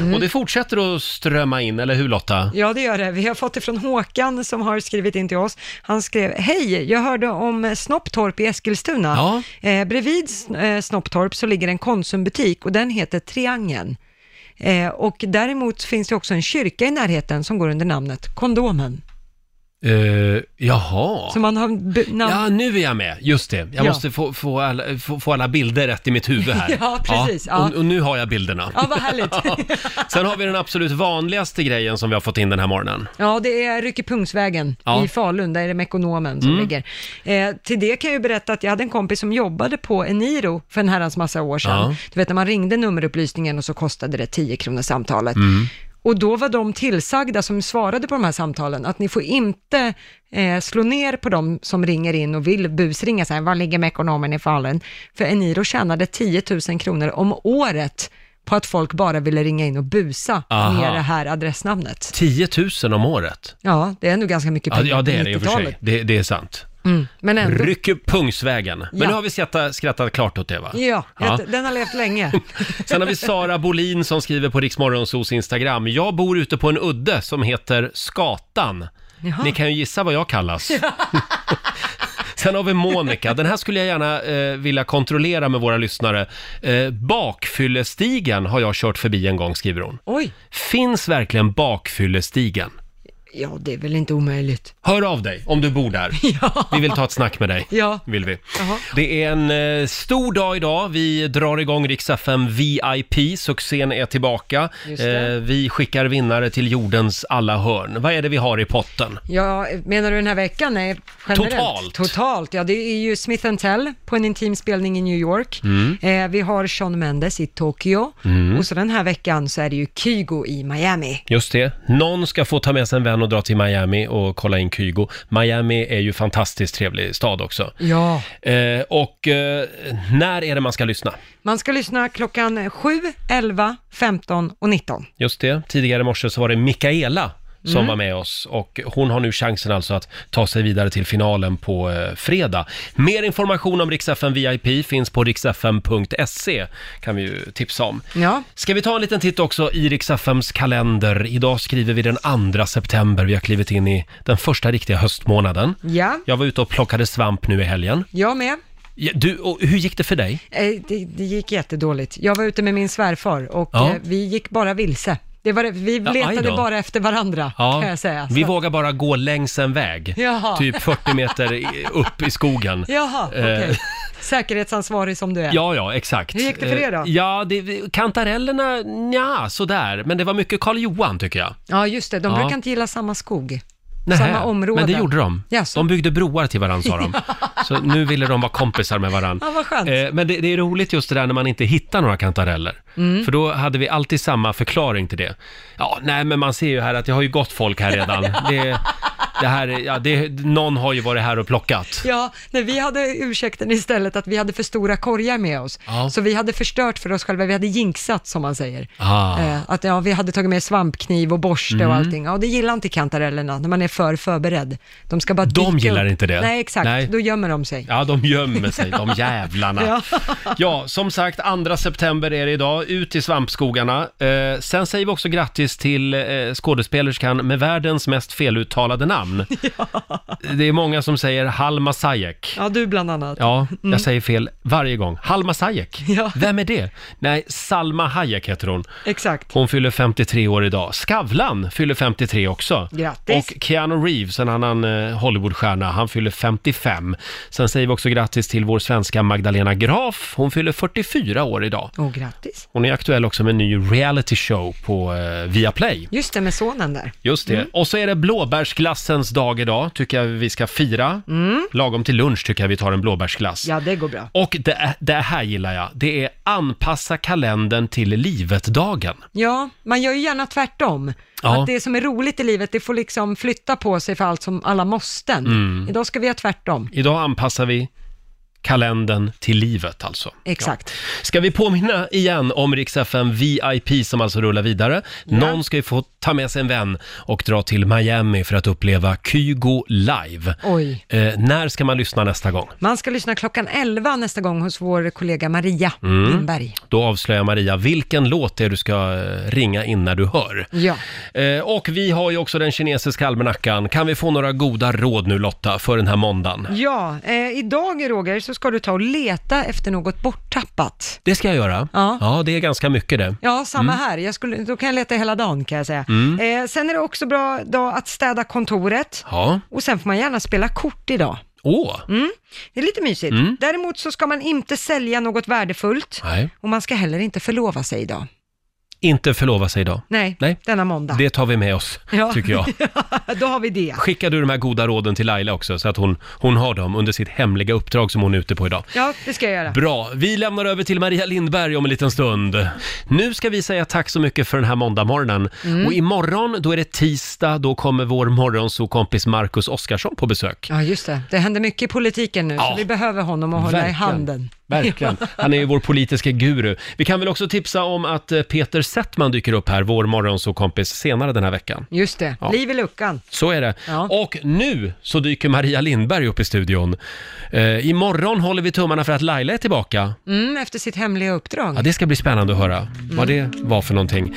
Speaker 3: Mm.
Speaker 1: Och det fortsätter att strömma in, eller hur Lotta?
Speaker 3: Ja, det gör det. Vi har fått det från Håkan som har skrivit in till oss. Han skrev, hej, jag hörde om Snopptorp i Eskilstuna. Eh, bredvid eh, Snopptorp så ligger en Konsumbutik och den heter Triangeln. Eh, och däremot finns det också en kyrka i närheten som går under namnet Kondomen.
Speaker 1: Eh, jaha.
Speaker 3: Så man har b- namn...
Speaker 1: Ja, nu är jag med. Just det. Jag
Speaker 3: Ja.
Speaker 1: måste få, få, alla, få, få alla bilder rätt i mitt huvud här.
Speaker 3: Ja, precis. Ja.
Speaker 1: Och, och nu har jag bilderna.
Speaker 3: Ja, vad härligt.
Speaker 1: Sen har vi den absolut vanligaste grejen som vi har fått in den här morgonen.
Speaker 3: Ja, det är Ryckepungsvägen
Speaker 1: Ja.
Speaker 3: i Falun, där är det Mekonomen som
Speaker 1: Mm.
Speaker 3: ligger. Eh, till det kan jag ju berätta att jag hade en kompis som jobbade på Eniro för en herrans massa år sedan.
Speaker 17: Ja.
Speaker 3: Du vet när man ringde nummerupplysningen och så kostade det 10 kronor samtalet.
Speaker 1: Mm.
Speaker 3: Och då var de tillsagda som svarade på de här samtalen att ni får inte eh, slå ner på dem som ringer in och vill busringa så här, var ligger Mekonomen i Falun? För Eniro tjänade 10 000 kronor om året på att folk bara ville ringa in och busa
Speaker 1: Aha.
Speaker 3: med det här adressnamnet.
Speaker 1: 10 000 om året.
Speaker 3: Ja, det är nog ganska mycket
Speaker 1: Ja,
Speaker 3: pengar
Speaker 1: ja, det är det i och för sig.
Speaker 3: 90-talet.
Speaker 1: Det, det är sant.
Speaker 3: Mm, men ändå.
Speaker 1: Rycker pungsvägen. Men
Speaker 3: Ja.
Speaker 1: nu har vi skrattat, skrattat klart åt det va?
Speaker 3: Ja,
Speaker 1: Ja.
Speaker 3: ett- den har levt länge.
Speaker 1: Sen har vi Sara Bolin som skriver på Riksmorgonsos Instagram. Jag bor ute på en udde som heter Skatan.
Speaker 3: Jaha.
Speaker 1: Ni kan ju gissa vad jag kallas. Sen har vi Monica. Den här skulle jag gärna eh, vilja kontrollera med våra lyssnare. Eh, bakfyllestigen har jag kört förbi en gång, skriver hon.
Speaker 3: Oj.
Speaker 1: Finns verkligen bakfyllestigen?
Speaker 3: Ja, det är väl inte omöjligt.
Speaker 1: Hör av dig om du bor där. Vi vill ta ett snack med dig.
Speaker 3: Ja.
Speaker 1: Vill vi. Det är en eh, stor dag idag. Vi drar igång Rix FM VIP. Succén är tillbaka.
Speaker 3: Just det.
Speaker 1: Eh, vi skickar vinnare till jordens alla hörn. Vad är det vi har i potten?
Speaker 3: Ja, menar du den här veckan? Nej, generellt.
Speaker 1: Totalt.
Speaker 3: Totalt, ja. Det är ju Smith Tell på en intim spelning i New York.
Speaker 1: Mm.
Speaker 3: Eh, vi har Sean Mendes i Tokyo.
Speaker 1: Mm.
Speaker 3: Och så den här veckan så är det ju Kygo i Miami.
Speaker 1: Just det. Någon ska få ta med sig en vän och dra till Miami och kolla in Kygo. Miami är ju fantastiskt trevlig stad också.
Speaker 3: Ja.
Speaker 1: Eh, och eh, när är det man ska lyssna?
Speaker 3: Man ska lyssna klockan 7, 11, 15 och 19.
Speaker 1: Just det. Tidigare i morse så var det Mikaela som
Speaker 3: Mm.
Speaker 1: var med oss och hon har nu chansen alltså att ta sig vidare till finalen på eh, fredag. Mer information om Rix FM VIP finns på rixfm.se kan vi ju tipsa om.
Speaker 3: Ja.
Speaker 1: Ska vi ta en liten titt också i Rix FMs kalender? Idag skriver vi den 2 september. Vi har klivit in i den första riktiga höstmånaden.
Speaker 3: Ja,
Speaker 1: Jag var ute och plockade svamp nu i helgen.
Speaker 3: jag med.
Speaker 1: Ja, Du, och hur gick det för dig?
Speaker 3: Eh, det, det gick jättedåligt. Jag var ute med min svärfar och
Speaker 1: Ja.
Speaker 3: eh, vi gick bara vilse. Det var, det- vi
Speaker 1: Ja, aj
Speaker 3: letade
Speaker 1: då.
Speaker 3: bara efter varandra, kan jag säga.
Speaker 1: Vi
Speaker 3: Så-
Speaker 1: vågar bara gå längs en väg,
Speaker 3: Jaha.
Speaker 1: typ 40 meter i- upp i skogen.
Speaker 3: Jaha, okej.
Speaker 1: Eh,
Speaker 3: Säkerhetsansvarig som du är.
Speaker 1: Ja, ja, exakt.
Speaker 3: Hur gick det för
Speaker 1: Eh,
Speaker 3: er då?
Speaker 1: Ja, det, kantarellerna, nja, sådär. Men det var mycket Karl-Johan, tycker jag.
Speaker 3: Ja, just det. De
Speaker 1: Ja.
Speaker 3: brukar inte gilla samma skog.
Speaker 1: Nähä,
Speaker 3: Samma område.
Speaker 1: Men det gjorde de.
Speaker 3: Jaså.
Speaker 1: De byggde broar till varandra, sa de. Så nu ville de vara kompisar med varandra.
Speaker 3: Ja, vad skönt.
Speaker 1: Men det, det är roligt just det där när man inte hittar några kantareller.
Speaker 3: Mm.
Speaker 1: För då hade vi alltid samma förklaring till det. Ja, nej men man ser ju här att det har ju gått folk här redan. Det, det här, är- ja, det, någon har ju varit här och plockat.
Speaker 3: Ja, nej, vi hade ursäkten istället att vi hade för stora korgar med oss.
Speaker 1: Ja.
Speaker 3: Så vi hade förstört för oss själva, vi hade jinxat som man säger.
Speaker 1: Ah.
Speaker 3: Eh, att ja, vi hade tagit med svampkniv och borste
Speaker 1: Mm.
Speaker 3: och allting. Ja, och det gillar inte kantarellerna när man är för förberedd. De ska bara
Speaker 1: De
Speaker 3: dyka
Speaker 1: gillar
Speaker 3: upp.
Speaker 1: inte det.
Speaker 3: Nej, exakt.
Speaker 1: Nej.
Speaker 3: Då gömmer de sig.
Speaker 1: Ja, de gömmer sig, de jävlarna.
Speaker 3: Ja.
Speaker 1: Ja. som sagt, 2 september är det idag. Ut i svampskogarna. Eh, sen säger vi också grattis till eh, skådespelerskan med världens mest feluttalade namn. Det är många som säger Halma Sayek.
Speaker 3: Ja, du bland annat.
Speaker 1: Ja, jag
Speaker 3: Mm.
Speaker 1: säger fel varje gång. Halma Sayek, vem är det? Nej, Salma Hayek heter hon.
Speaker 3: Exakt.
Speaker 1: Hon fyller 53 år idag. Skavlan fyller 53 också.
Speaker 3: Grattis.
Speaker 1: Och Keanu Reeves, en annan eh, Hollywoodstjärna, han fyller 55. Sen säger vi också grattis till vår svenska Magdalena Graf. Hon fyller 44 år idag.
Speaker 3: Och grattis.
Speaker 1: Hon är aktuell också med en ny reality show på eh, Viaplay.
Speaker 3: Just det, med sonen där.
Speaker 1: Just det. Och så är det blåbärsglassens dag idag, tycker jag vi ska fira. Lagom till lunch tycker jag vi tar en blåbärsglass.
Speaker 3: Mm. Ja, det går bra.
Speaker 1: Och det, det här gillar jag. Det är anpassa kalendern till livet-dagen.
Speaker 3: Ja, man gör ju gärna tvärtom.
Speaker 1: Ja.
Speaker 3: Att det som är roligt i livet, det får liksom flytta på sig för allt som alla måsten.
Speaker 1: Mm.
Speaker 3: Idag ska vi göra tvärtom.
Speaker 1: Idag anpassar vi kalendern till livet alltså.
Speaker 3: Exakt.
Speaker 1: Ja. Ska vi påminna igen om Rix FM VIP som alltså rullar vidare. Någon ska ju få ta med sig en vän och dra till Miami för att uppleva Kygo live.
Speaker 3: Oj.
Speaker 1: Eh, när ska man lyssna nästa gång?
Speaker 3: Man ska lyssna klockan 11 nästa gång hos vår kollega Maria
Speaker 1: Mm.
Speaker 3: Lindberg.
Speaker 1: Då avslöjar Maria vilken låt det är du ska eh, ringa in när du hör.
Speaker 3: Ja.
Speaker 1: Eh, och vi har ju också den kinesiska almanackan. Kan vi få några goda råd nu Lotta för den här måndagen?
Speaker 3: Ja, eh, idag Roger så ska du ta och leta efter något borttappat.
Speaker 1: Det ska jag göra.
Speaker 3: Ja.
Speaker 1: det är ganska mycket det.
Speaker 3: Ja, samma
Speaker 1: Mm.
Speaker 3: här. Jag skulle, då kan jag leta hela dagen kan jag säga.
Speaker 1: Mm.
Speaker 3: Eh, sen är det också bra dag att städa kontoret.
Speaker 1: Ja.
Speaker 3: Och sen får man gärna spela kort idag.
Speaker 1: Åh!
Speaker 3: Mm. Det är lite mysigt.
Speaker 1: Mm.
Speaker 3: Däremot så ska man inte sälja något värdefullt.
Speaker 1: Nej.
Speaker 3: Och man ska heller inte förlova sig idag.
Speaker 1: Inte förlova sig idag.
Speaker 3: Nej,
Speaker 1: Nej.
Speaker 3: denna måndag.
Speaker 1: Det tar vi med oss,
Speaker 3: Ja.
Speaker 1: tycker jag.
Speaker 3: då har vi det.
Speaker 1: Skickar du de här goda råden till Laila också så att hon, hon har dem under sitt hemliga uppdrag som hon är ute på idag.
Speaker 3: Ja, det ska jag göra.
Speaker 1: Bra, vi lämnar över till Maria Lindberg om en liten stund. Nu ska vi säga tack så mycket för den här måndagmorgonen.
Speaker 3: Mm.
Speaker 1: Och imorgon, då är det tisdag, då kommer vår morgonsokompis Marcus Oskarsson på besök.
Speaker 3: Ja, just det. Det händer mycket i politiken nu,
Speaker 1: Ja.
Speaker 3: så vi behöver honom att hålla i handen.
Speaker 1: Verkligen. Han är ju vår politiska guru. Vi kan väl också tipsa om att eh, Peter Settman dyker upp här, vår morgonsokompis, senare den här veckan.
Speaker 3: Just det.
Speaker 1: Ja.
Speaker 3: Liv i luckan.
Speaker 1: Så är det. Och nu så dyker Maria Lindberg upp i studion. Eh, imorgon håller vi tummarna för att Laila är tillbaka.
Speaker 3: Mm, efter sitt hemliga uppdrag.
Speaker 1: Ja, det ska bli spännande att höra vad det var för någonting.